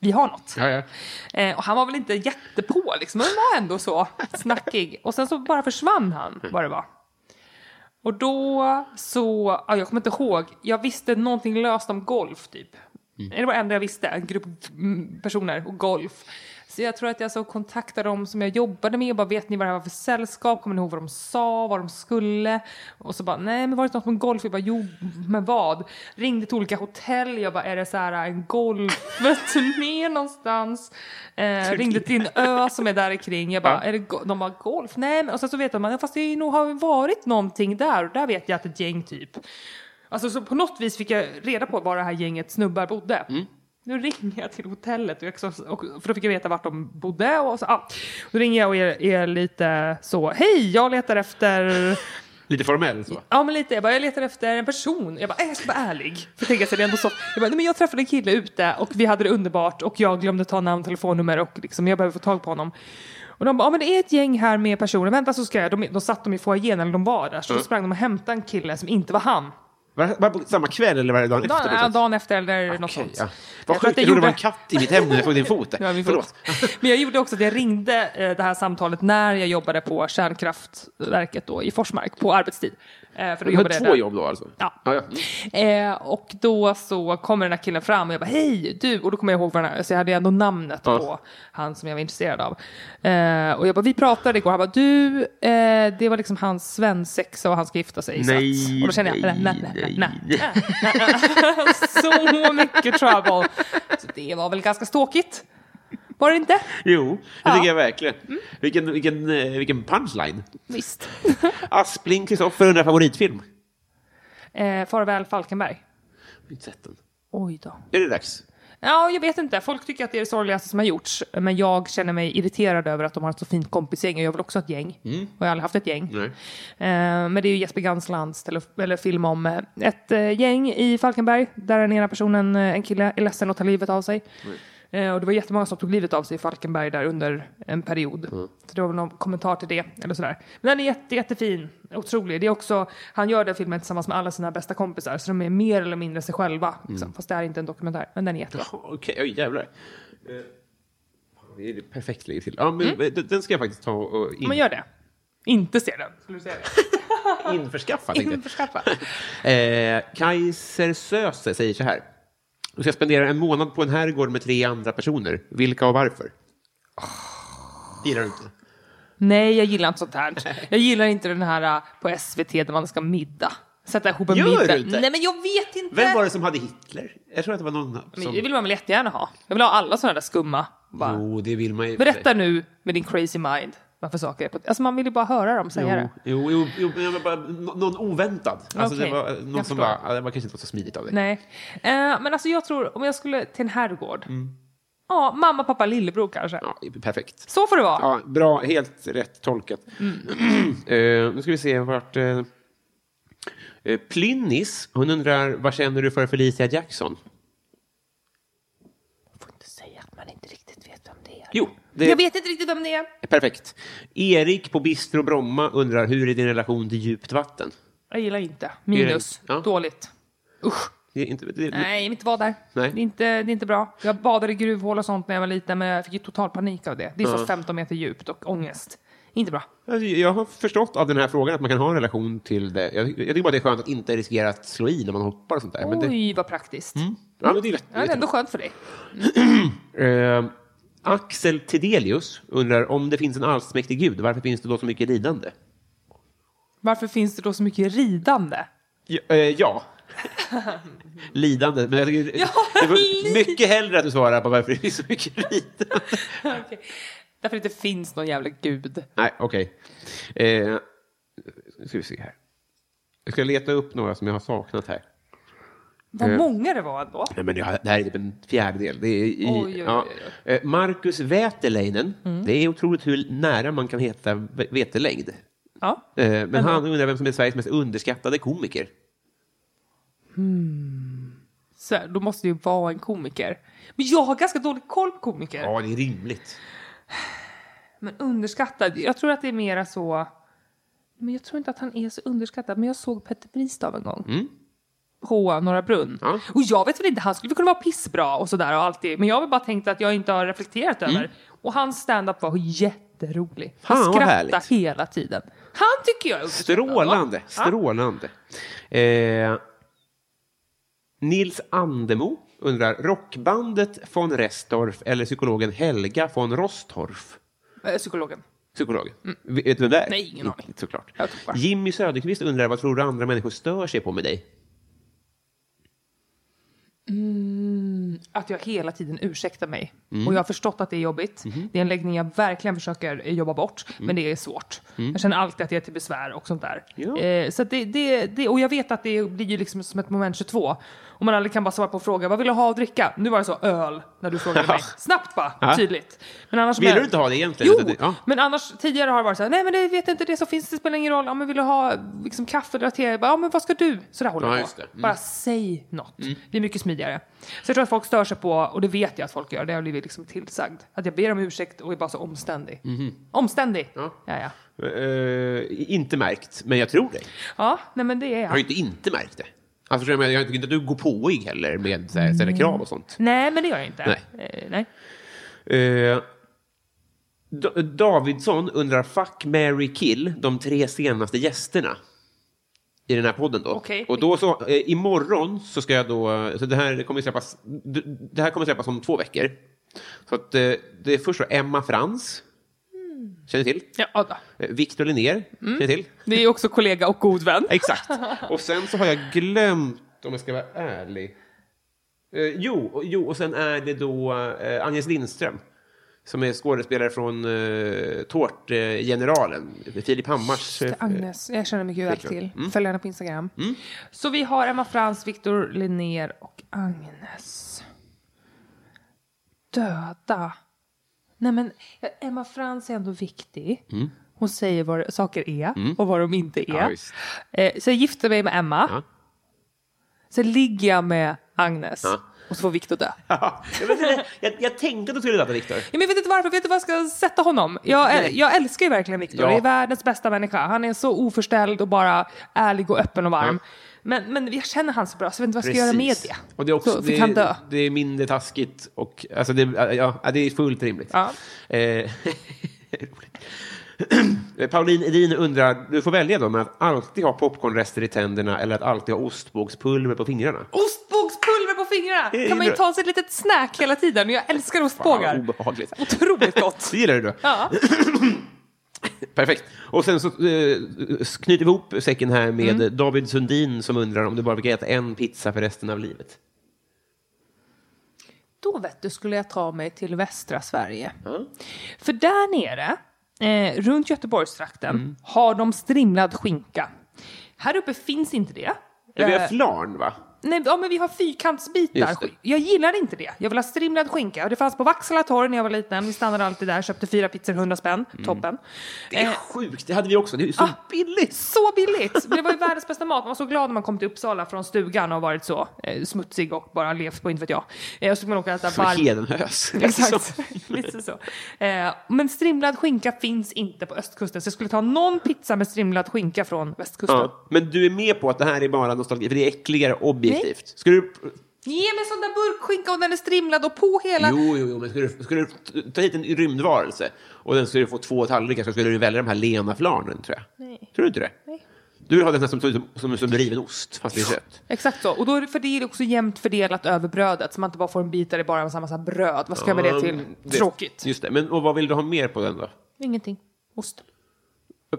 vi har något. ja. Eh, och han var väl inte jättepå liksom, men var ändå så snackig. Och sen så bara försvann han, vad det var. Och då så, ja, jag kommer inte ihåg, jag visste någonting löst om golf typ. Det var det enda jag visste, en grupp mm, personer och golf. Så jag tror att jag så kontaktade dem som jag jobbade med och bara vet ni vad det här var för sällskap, kommer ni ihåg vad de sa, vad de skulle? Och så bara nej men var det något med golf? Jag bara jo men vad? Ringde till olika hotell, jag bara är det så här en golfturné någonstans? Eh, ringde till en ö som är där kring. jag bara är det go-? de bara golf? Nej men och sen så vet man fast det är nog har varit någonting där och där vet jag att ett gäng typ Alltså så på något vis fick jag reda på var det här gänget snubbar bodde. Nu ringer jag till hotellet, och jag, och, för då fick jag veta vart de bodde. Och så, ah, då ringer jag och är, är lite så, hej jag letar efter Lite formell så. Ja men lite, jag bara jag letar efter en person. Jag bara äh, jag ska vara ärlig. För tänka sig det är ändå så. Jag bara nej, men jag träffade en kille ute och vi hade det underbart och jag glömde ta namn, telefonnummer och liksom jag behöver få tag på honom. Och de bara ja men det är ett gäng här med personer, vänta så ska jag. De, de satt de i foajén eller de var där så Mm. då sprang de och hämtade en kille som inte var han. Var, var på samma kväll eller var det dagen efter? Dagen, på något ja, sätt? dagen efter eller något Okej, sånt. ja. tror Vad sjukt, att det jag trodde det var en gjorde- katt i mitt hem när jag såg din fot. (laughs) Ja, vi får- Förlåt. Men jag gjorde också att jag ringde eh, det här samtalet när jag jobbade på kärnkraftverket då i Forsmark på arbetstid. Eh, för då Du hade jobbade jag två där. jobb då alltså? Ja. ja, ja. Eh, och då så kommer den här killen fram och jag bara hej du och då kommer jag ihåg vad den här, så jag hade ju ändå namnet Ja. på han som jag var intresserad av. Eh, och jag bara vi pratade igår, han bara du, eh, det var liksom hans svensexa och han ska gifta sig. så att, Nej, och då kände jag nej, nej, nej, nej, nej, nej. (laughs) så mycket trouble. Så det var väl ganska ståkigt. Var det inte? Jo, det Ja. Mm. tycker jag verkligen. Vilken, vilken, eh, vilken punchline. Visst. Aspling Kristoffer undrar favoritfilm. Eh, farväl Falkenberg. Inte sett den. Oj då. Är det dags? Ja, jag vet inte. Folk tycker att det är det sorgligaste som har gjorts. Men jag känner mig irriterad över att de har ett så fint kompisgäng. Och jag vill också ha ett gäng. Och jag har aldrig haft ett gäng. Nej. Eh, men det är ju Jesper Ganslands tele- eller film om eh, ett eh, gäng i Falkenberg. Där den ena personen, eh, en kille, är ledsen och tar livet av sig. Eh, och det var jättemånga som tog livet av sig i Falkenberg där under en period. Så det var väl någon kommentar till det. Eller sådär. Men den är jätte, jättefin. Otrolig. Det är också, han gör den filmen tillsammans med alla sina bästa kompisar. Så de är mer eller mindre sig själva. Liksom. Fast det här är inte en dokumentär. Men den är jättebra. Jaha, Okej, oj jävlar. Eh, Det är det perfekt läge till. Ja, men eh, den- Den ska jag faktiskt ta och in, Mm. Men gör det. Inte se den. Skulle du säga det? införskaffa. tänkte jag. Införskaffa. (laughs) Eh, Kaiser Söze säger så här. Du ska spendera en månad på en herrgård med tre andra personer. Vilka och varför? Ah. Gillar du inte? (laughs) Nej, jag gillar inte sånt här. Jag gillar inte den här äh, på SVT där man ska middag. Sätta ihop en Gör middag. du inte? Nej, men jag vet inte. Vem var det som hade Hitler? Jag tror att det var någon Men som... det vill man väl jättegärna ha? Jag vill ha alla sådana där skumma. Bara. Jo, det vill man ju. Berätta nu med din crazy mind. varför saker är på... Alltså man vill ju bara höra dem säga det. Jo, jo, jo, jo men bara, nå- någon oväntad. Alltså, Okej, det var eh, jag något som förstår. bara, ja, det var kanske inte var så smidigt av dig. Nej. Eh, men alltså jag tror, om jag skulle till en herrgård. Ja, mamma, pappa, lillebror kanske. Ja, perfekt. Så får det vara. Ja, bra, helt rätt tolkat. (clears throat) Eh, nu ska vi se vart... eh, eh, Plynnis, hon undrar vad känner du för Felicia Jackson? får inte säga att man inte riktigt vet vem det är. Jo, Jag det vet inte riktigt vem det är. är perfekt. Erik på Bistro Bromma undrar hur är din relation till djupt vatten? Jag gillar inte. Minus. Ja. Dåligt. Usch. Det är inte, det, Nej, jag vill inte vara där. Nej. Det, är inte, det är inte bra. Jag badade i gruvhål och sånt när jag var liten, men jag fick ju total panik av det. Det är så 15 meter djupt och ångest. Inte bra. Alltså, Jag har förstått av den här frågan att man kan ha en relation till det. Jag, jag tycker bara det är skönt att inte riskera att slå i när man hoppar och sånt där. Men det, Oj, vad praktiskt. ja, men det är lätt. Ja, det är ändå skönt för dig. Eh, Axel Tidelius undrar om det finns en allsmäktig gud, varför finns det då så mycket lidande? Varför finns det då så mycket ridande? (laughs) Ja. eh, ja. lidande. Men jag tycker, Ja, det var lid- mycket hellre att du svarar på varför det finns så mycket lidande. Okej. Därför det inte finns någon jävla gud. Nej, okej. Eh, nu ska vi se här. Jag ska leta upp några som jag har saknat här. Vad Eh. många det var ändå. Nej, men det, har- det här är typ en fjärdedel. Det är i, Oj, oj, Mm. oj, ja. Eh, Marcus Väteläinen. Det är otroligt hur nära man kan heta v- vetelängd. Ja. Eh, Men han undrar vem som är Sveriges mest underskattade komiker. Så här, då måste det ju vara en komiker. Men jag har ganska dålig koll på komiker. Ja, det är rimligt. Men underskattad. Jag tror att det är mera så... Men jag tror inte att han är så underskattad. Men jag såg Petter Bristav en gång. På Norra Brunn. Mm. Ja. Och jag vet väl inte, han skulle väl kunna vara pissbra och sådär och allt det. Men jag har väl bara tänkt att jag inte har reflekterat över. Och hans stand-up var jätterolig. Mm. Fan, vad jag skrattade härligt. hela tiden. Han tycker jag är underskattad, va? Strålande, Ja. strålande. Eh, Nils Andemo undrar, rockbandet von Restorff eller psykologen Helga von Rostorff? Eh, Psykologen. Psykologen. Vet du vem det är? Mm, Mm. Nej, ingen aning. Såklart. Jag tror bara. Jimmy Söderqvist undrar, vad tror du andra människor stör sig på med dig? att jag hela tiden ursäktar mig. Mm. Och jag har förstått att det är jobbigt. Det är en läggning jag verkligen försöker eh, jobba bort, Mm. men det är svårt. Jag känner alltid att jag är till besvär och sånt där. Ja. Eh, så att det, det, det, och jag vet att det blir ju liksom som ett moment 22. Och man aldrig kan bara svara på frågan, vad vill du ha att dricka? Nu var det så, öl, när du frågade mig. Snabbt bara, Ja. tydligt. Men annars Vill men- du inte ha det egentligen? Jo, Utan det- ja. men annars tidigare har det varit så här, nej men det vet jag inte det som finns, det spelar ingen roll. Ja men vill du ha liksom, kaffe eller te? Jag bara, Ja men vad ska du? Så där håller Ja, jag just på. det. Mm. Bara säg något. Det är mycket smidigare. Så jag tror att folk stör sig på, och det vet jag att folk gör, det har jag blivit liksom tillsagd. Att jag ber om ursäkt och är bara så omständig. Mhm. Omständig! Ja. Ja, ja. Eh, inte märkt, men jag tror dig. nej men det är Jag har jag. ju inte inte märkt det. Alltså, förstår du vad jag menar? jag tycker inte att du går påig heller med så här, ställa Mm. krav och sånt. Nej men det gör jag inte. Nej. Eh, nej. Eh, Da- Davidsson undrar fuck, Mary kill de tre senaste gästerna i den här podden då. Okej. Och då så, eh, imorgon så ska jag då, så det här kommer släppas, d- det här kommer släppas om två veckor. Så att eh, det är först då Emma Frans, känner ni till? Ja, då. Eh, Victor Linnér, känner ni till? Det är också kollega och god vän. (laughs) Exakt. Och sen så har jag glömt, om jag ska vara ärlig. Eh, jo, och- jo, och sen är det då eh, Agnes Lindström. Som är skådespelare från eh, Tårtgeneralen. Filip Hammars... Just det, Agnes, jag känner mycket väl flickvän. till. Följ henne på Instagram. Mm. Så vi har Emma Frans, Viktor Linnér och Agnes. Döda. Nej men ja, Emma Frans är ändå viktig. Hon säger vad det- saker är och vad de inte Mm. Ja, är. visst. eh, så jag gifter mig med Emma. Ja. (laughs) Sen ligger jag med Agnes. Ja. Och så får Viktor dö. Ja, men det- jag, jag tänkte att du skulle döda Viktor. Ja, men jag vet inte varför, vet du vad jag ska sätta honom? Jag, äl- jag älskar ju verkligen Viktor, Ja. det är världens bästa människa. Han är så oförställd och bara ärlig och öppen och varm. Men, men jag känner han så bra så jag vet inte vad jag ska göra med det. Och det är också, så fick det, han dö. det är mindre taskigt och alltså det, ja, ja, det är fullt rimligt. Ja. Eh, (laughs) roligt. Pauline Edin undrar, du får välja då, men att alltid ha popcornrester i tänderna eller att alltid ha ostbågspulver på fingrarna? Ostbågspulver på fingrarna! Det Kan man ju är- ta sig ett litet snack hela tiden. Och Jag älskar Fan, ostbågar. obehagligt. Otroligt gott. (laughs) Det gillar du då? Ja. Perfekt. Och sen så eh, knyter vi ihop säcken här med Mm. David Sundin som undrar om du bara fick äta en pizza för resten av livet. Då vet du skulle jag ta mig till västra Sverige. För där nere eh, runt Göteborgstrakten Mm. har de strimlad skinka. Här uppe finns inte det. Ja, Vi Eh, har flarn, va? Nej, ja, men vi har fyrkantsbitar. Just det. Jag gillar inte det. Jag vill ha strimlad skinka. Och Det fanns på Vaksala torg när jag var liten. Vi stannade alltid där, köpte fyra pizzor, 100 spänn. Mm. Toppen. Det är Eh, ah, sjukt, det hade vi också. Det är ju så Ah, billigt. så billigt! Men Det var ju världens bästa mat. Man var så glad när man kom till Uppsala från stugan och varit så eh, smutsig och bara levt på, inte vet jag. Eh, och så fick man åka och äta Som en varm... hedenhös. (laughs) Exakt, lite så. Eh, men strimlad skinka finns inte på östkusten, så jag skulle ta någon pizza med strimlad skinka från västkusten. Ja, men du är med på att det här är bara nostalgi, för det är äckligare objektivt. Skulle du... Ge mig sån där burkskinka och den är strimlad och på hela... Jo, jo, jo, men skulle du, skulle du ta hit en rymdvarelse och den skulle få två tallrikar så skulle du välja de här lena flarnen, tror jag. Nej. Tror du inte det? Nej. Du vill ha den här som, som, som, som riven ost, fast med kött. Exakt så. Och då är det, för det är också jämnt fördelat över brödet, så man inte bara får en bit där det bara är en massa, massa bröd. Vad ska jag med det till? Mm, Tråkigt. Just det. Men och vad vill du ha mer på den då? Ingenting. Ost.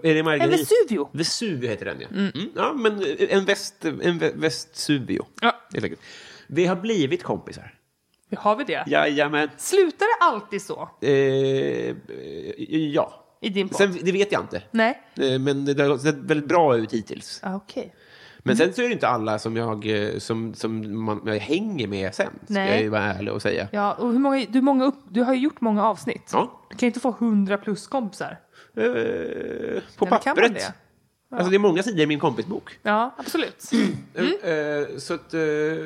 Är det margarin? En Vesuvio. Vesuvio heter den, ja. Mm. Ja, men en, väst, en vä- Vesuvio. Ja. Helt enkelt. Vi har blivit kompisar. Har vi det? Jajamän. Slutar det alltid så Eh, eh, ja. i din podd? Sen, det vet jag inte. Nej. Eh, Men det har sett väldigt bra ut hittills. Ah, Okej. Men sen så är det inte alla som jag, eh, som, som man, jag hänger med sen. Ska Nej. jag ju vara ärlig och säga. Ja, och hur många, du, många upp, du har ju gjort många avsnitt. Ja. Du kan ju inte få 100 plus kompisar. Eh, på Eller kan man pappret. det? Alltså det är många sidor i min kompisbok. Ja, (clears throat) absolut. Mm. Eh, så att... Eh, (clears throat)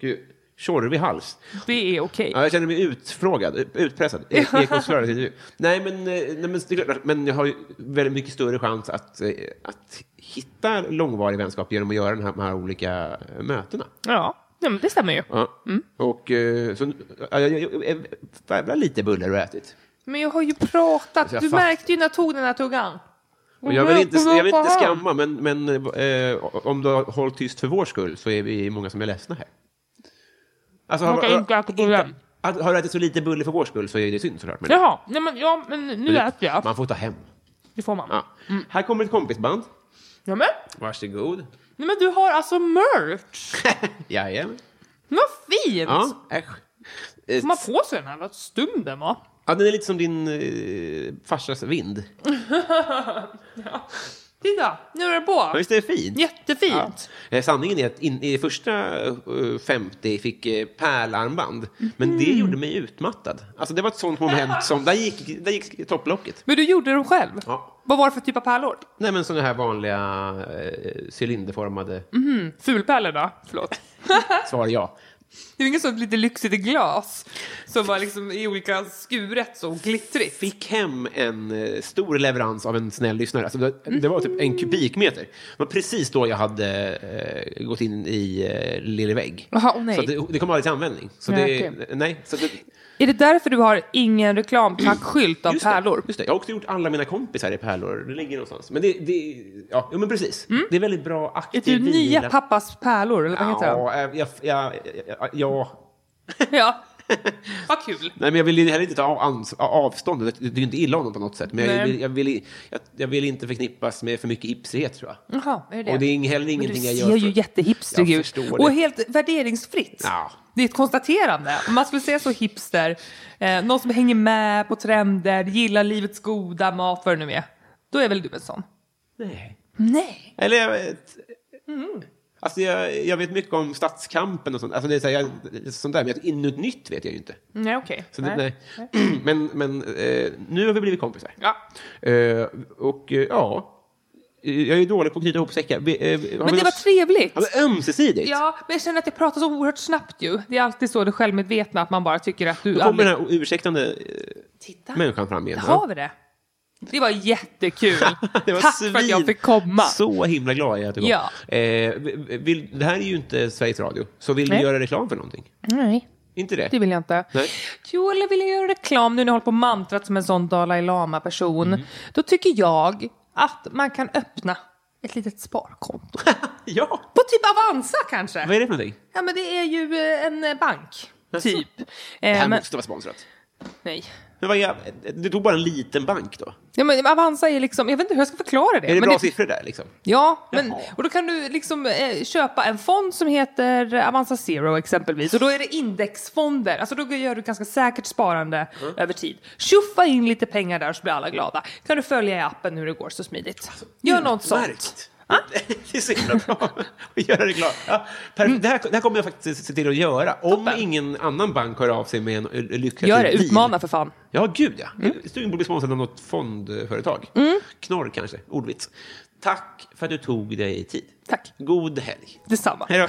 gud, tjorvig hals. Det är okej. Ja, jag känner mig utfrågad, utpressad. E- Ekots intervju. Nej, men, eh, nej men, det är klart, men jag har ju väldigt mycket större chans att, eh, att hitta långvarig vänskap genom att göra den här, de här olika eh, mötena. Ja. ja, men det stämmer ju. Ja. Och eh, så, ja, jag, jag, jag, jävla lite bullar har jag ätit. Men jag har ju pratat. Jag Du fattar. märkte ju när jag tog den här tuggan. Och jag vill inte, jag vill inte skamma, men, men eh, om du har hållit tyst för vår skull så är vi många som är ledsna här. Alltså, Man kan inte äta bullar. inte- att- har du ätit så lite buller för vår skull så är det synd såklart. Men, Jaha, nej men, ja, men nu men äter jag. Man får ta hem. Det får man. Ja. Här kommer ett kompisband. Ja, men, Varsågod. nej, men du har alltså merch! Jajamän. Vad fint! Ja, äsch. Eh, Får man på sig den här? Vad stum den var. ja, den är lite som din eh, farsas vind. Titta, nu är det Ja, på. visst är det fint? Jättefint. Eh, Sanningen är att in, i första eh, 50 fick eh, pärlarmband, men det gjorde mig utmattad. Alltså det var ett sånt moment som, där gick, där gick topplocket. Men du gjorde dem själv? Ja. Vad var det för typ av pärlor? Nej men sådana här vanliga eh, cylinderformade Fulpärlor då? Förlåt. svar ja. Det är ju inget sånt lite lyxigt glas som var liksom i olika skuret så glittrigt. Fick hem en eh, stor leverans av en snäll lyssnare. Alltså det, det var typ Mm. en kubikmeter. Det var precis då jag hade eh, gått in i eh, Lillevägg. Jaha, åh nej. Så att det, det kom aldrig till användning. Så Nej, det, okej. nej, så att det, Är det därför du har ingen reklamtackskylt av Just pärlor? Det, just det. Jag har också gjort alla mina kompisar i pärlor. Det ligger någonstans. Men det, det ja, jo, men precis. Det är väldigt bra Mm. Är aktiv du nya vila. pappas pärlor, eller vad heter den? Ja, eh, jag, jag, jag, jag, ja. (laughs) Ja. Vad kul. Nej, men jag vill ju heller inte ta ans- avstånd. Det det är ju inte illa om honom på något sätt. Men jag Nej. vill, jag, vill, jag, jag vill inte förknippas med för mycket hipsighet, tror jag. Jaha, är det Och det är ing- heller ingenting jag gör. Du ser ju för- jättehipster Jag ut. förstår Och det. helt värderingsfritt. Ja. Det är ett konstaterande. Om man skulle säga så hipster, eh, någon som hänger med på trender, gillar livets goda mat, vad det nu är. Då är väl du en sån? Nej. Nej. Mm. Eller jag vet... Alltså jag, jag vet mycket om statskampen och sånt, alltså det är så här, jag, sånt där, men jag- inuti nytt vet jag ju inte. Nej, okej. Så det, nej. (clears throat) Men, men eh, nu har vi blivit kompisar. Ja. Eh, och eh, ja, Eh, jag är dålig på att knyta ihop säckar. Vi, eh, har Men vi det var något- trevligt. Ja, men ömsesidigt. Ja, men jag känner att jag pratar så oerhört snabbt ju. Det är alltid så det självmedvetna, att man bara tycker att du Då kommer den här ursäktande eh, Titta. människan fram igen. Har vi det? Det var jättekul. (laughs) Det var Tack för att jag svin- fick komma. Så himla glad jag är att du kom. Ja. Eh, vill, det här är ju inte Sveriges Radio, så vill Nej. du göra reklam för någonting? Nej. Inte Det det? vill jag inte. Nej. Jo, eller vill jag göra reklam nu när jag håller på och mantrat som en sån Dalai Lama-person. Mm. Då tycker jag att man kan öppna ett litet sparkonto. Ja! på typ Avanza kanske? Vad är det för någonting? Ja, men det är ju eh, en eh, bank. Jaså? Typ. Det Eh, här men, måste vara sponsrat. nej. Men vad är, det tog bara en liten bank då? Ja, men Avanza är liksom, jag vet inte hur jag ska förklara det. Är det men bra siffror där liksom? Ja, men, och då kan du liksom eh, köpa en fond som heter Avanza Zero exempelvis. Och då är det indexfonder. Alltså då gör du ett ganska säkert sparande över tid. Tjuffa in lite pengar där så blir alla glada. Kan du följa i appen hur det går så smidigt. Gör något sånt. Ah? Utmärkt. (laughs) Det är så himla bra att göra reklam. Ja, Mm. perfekt. det, här, det här kommer jag faktiskt se till att göra. Om ingen annan bank hör av sig med en eh, lyckad Gör det, deal. utmana för fan. Ja, gud ja. Stugan borde bli sponsrad av något fondföretag. Knorr kanske, ordvits. Tack för att du tog dig tid. Tack. God helg. Detsamma. Hej då.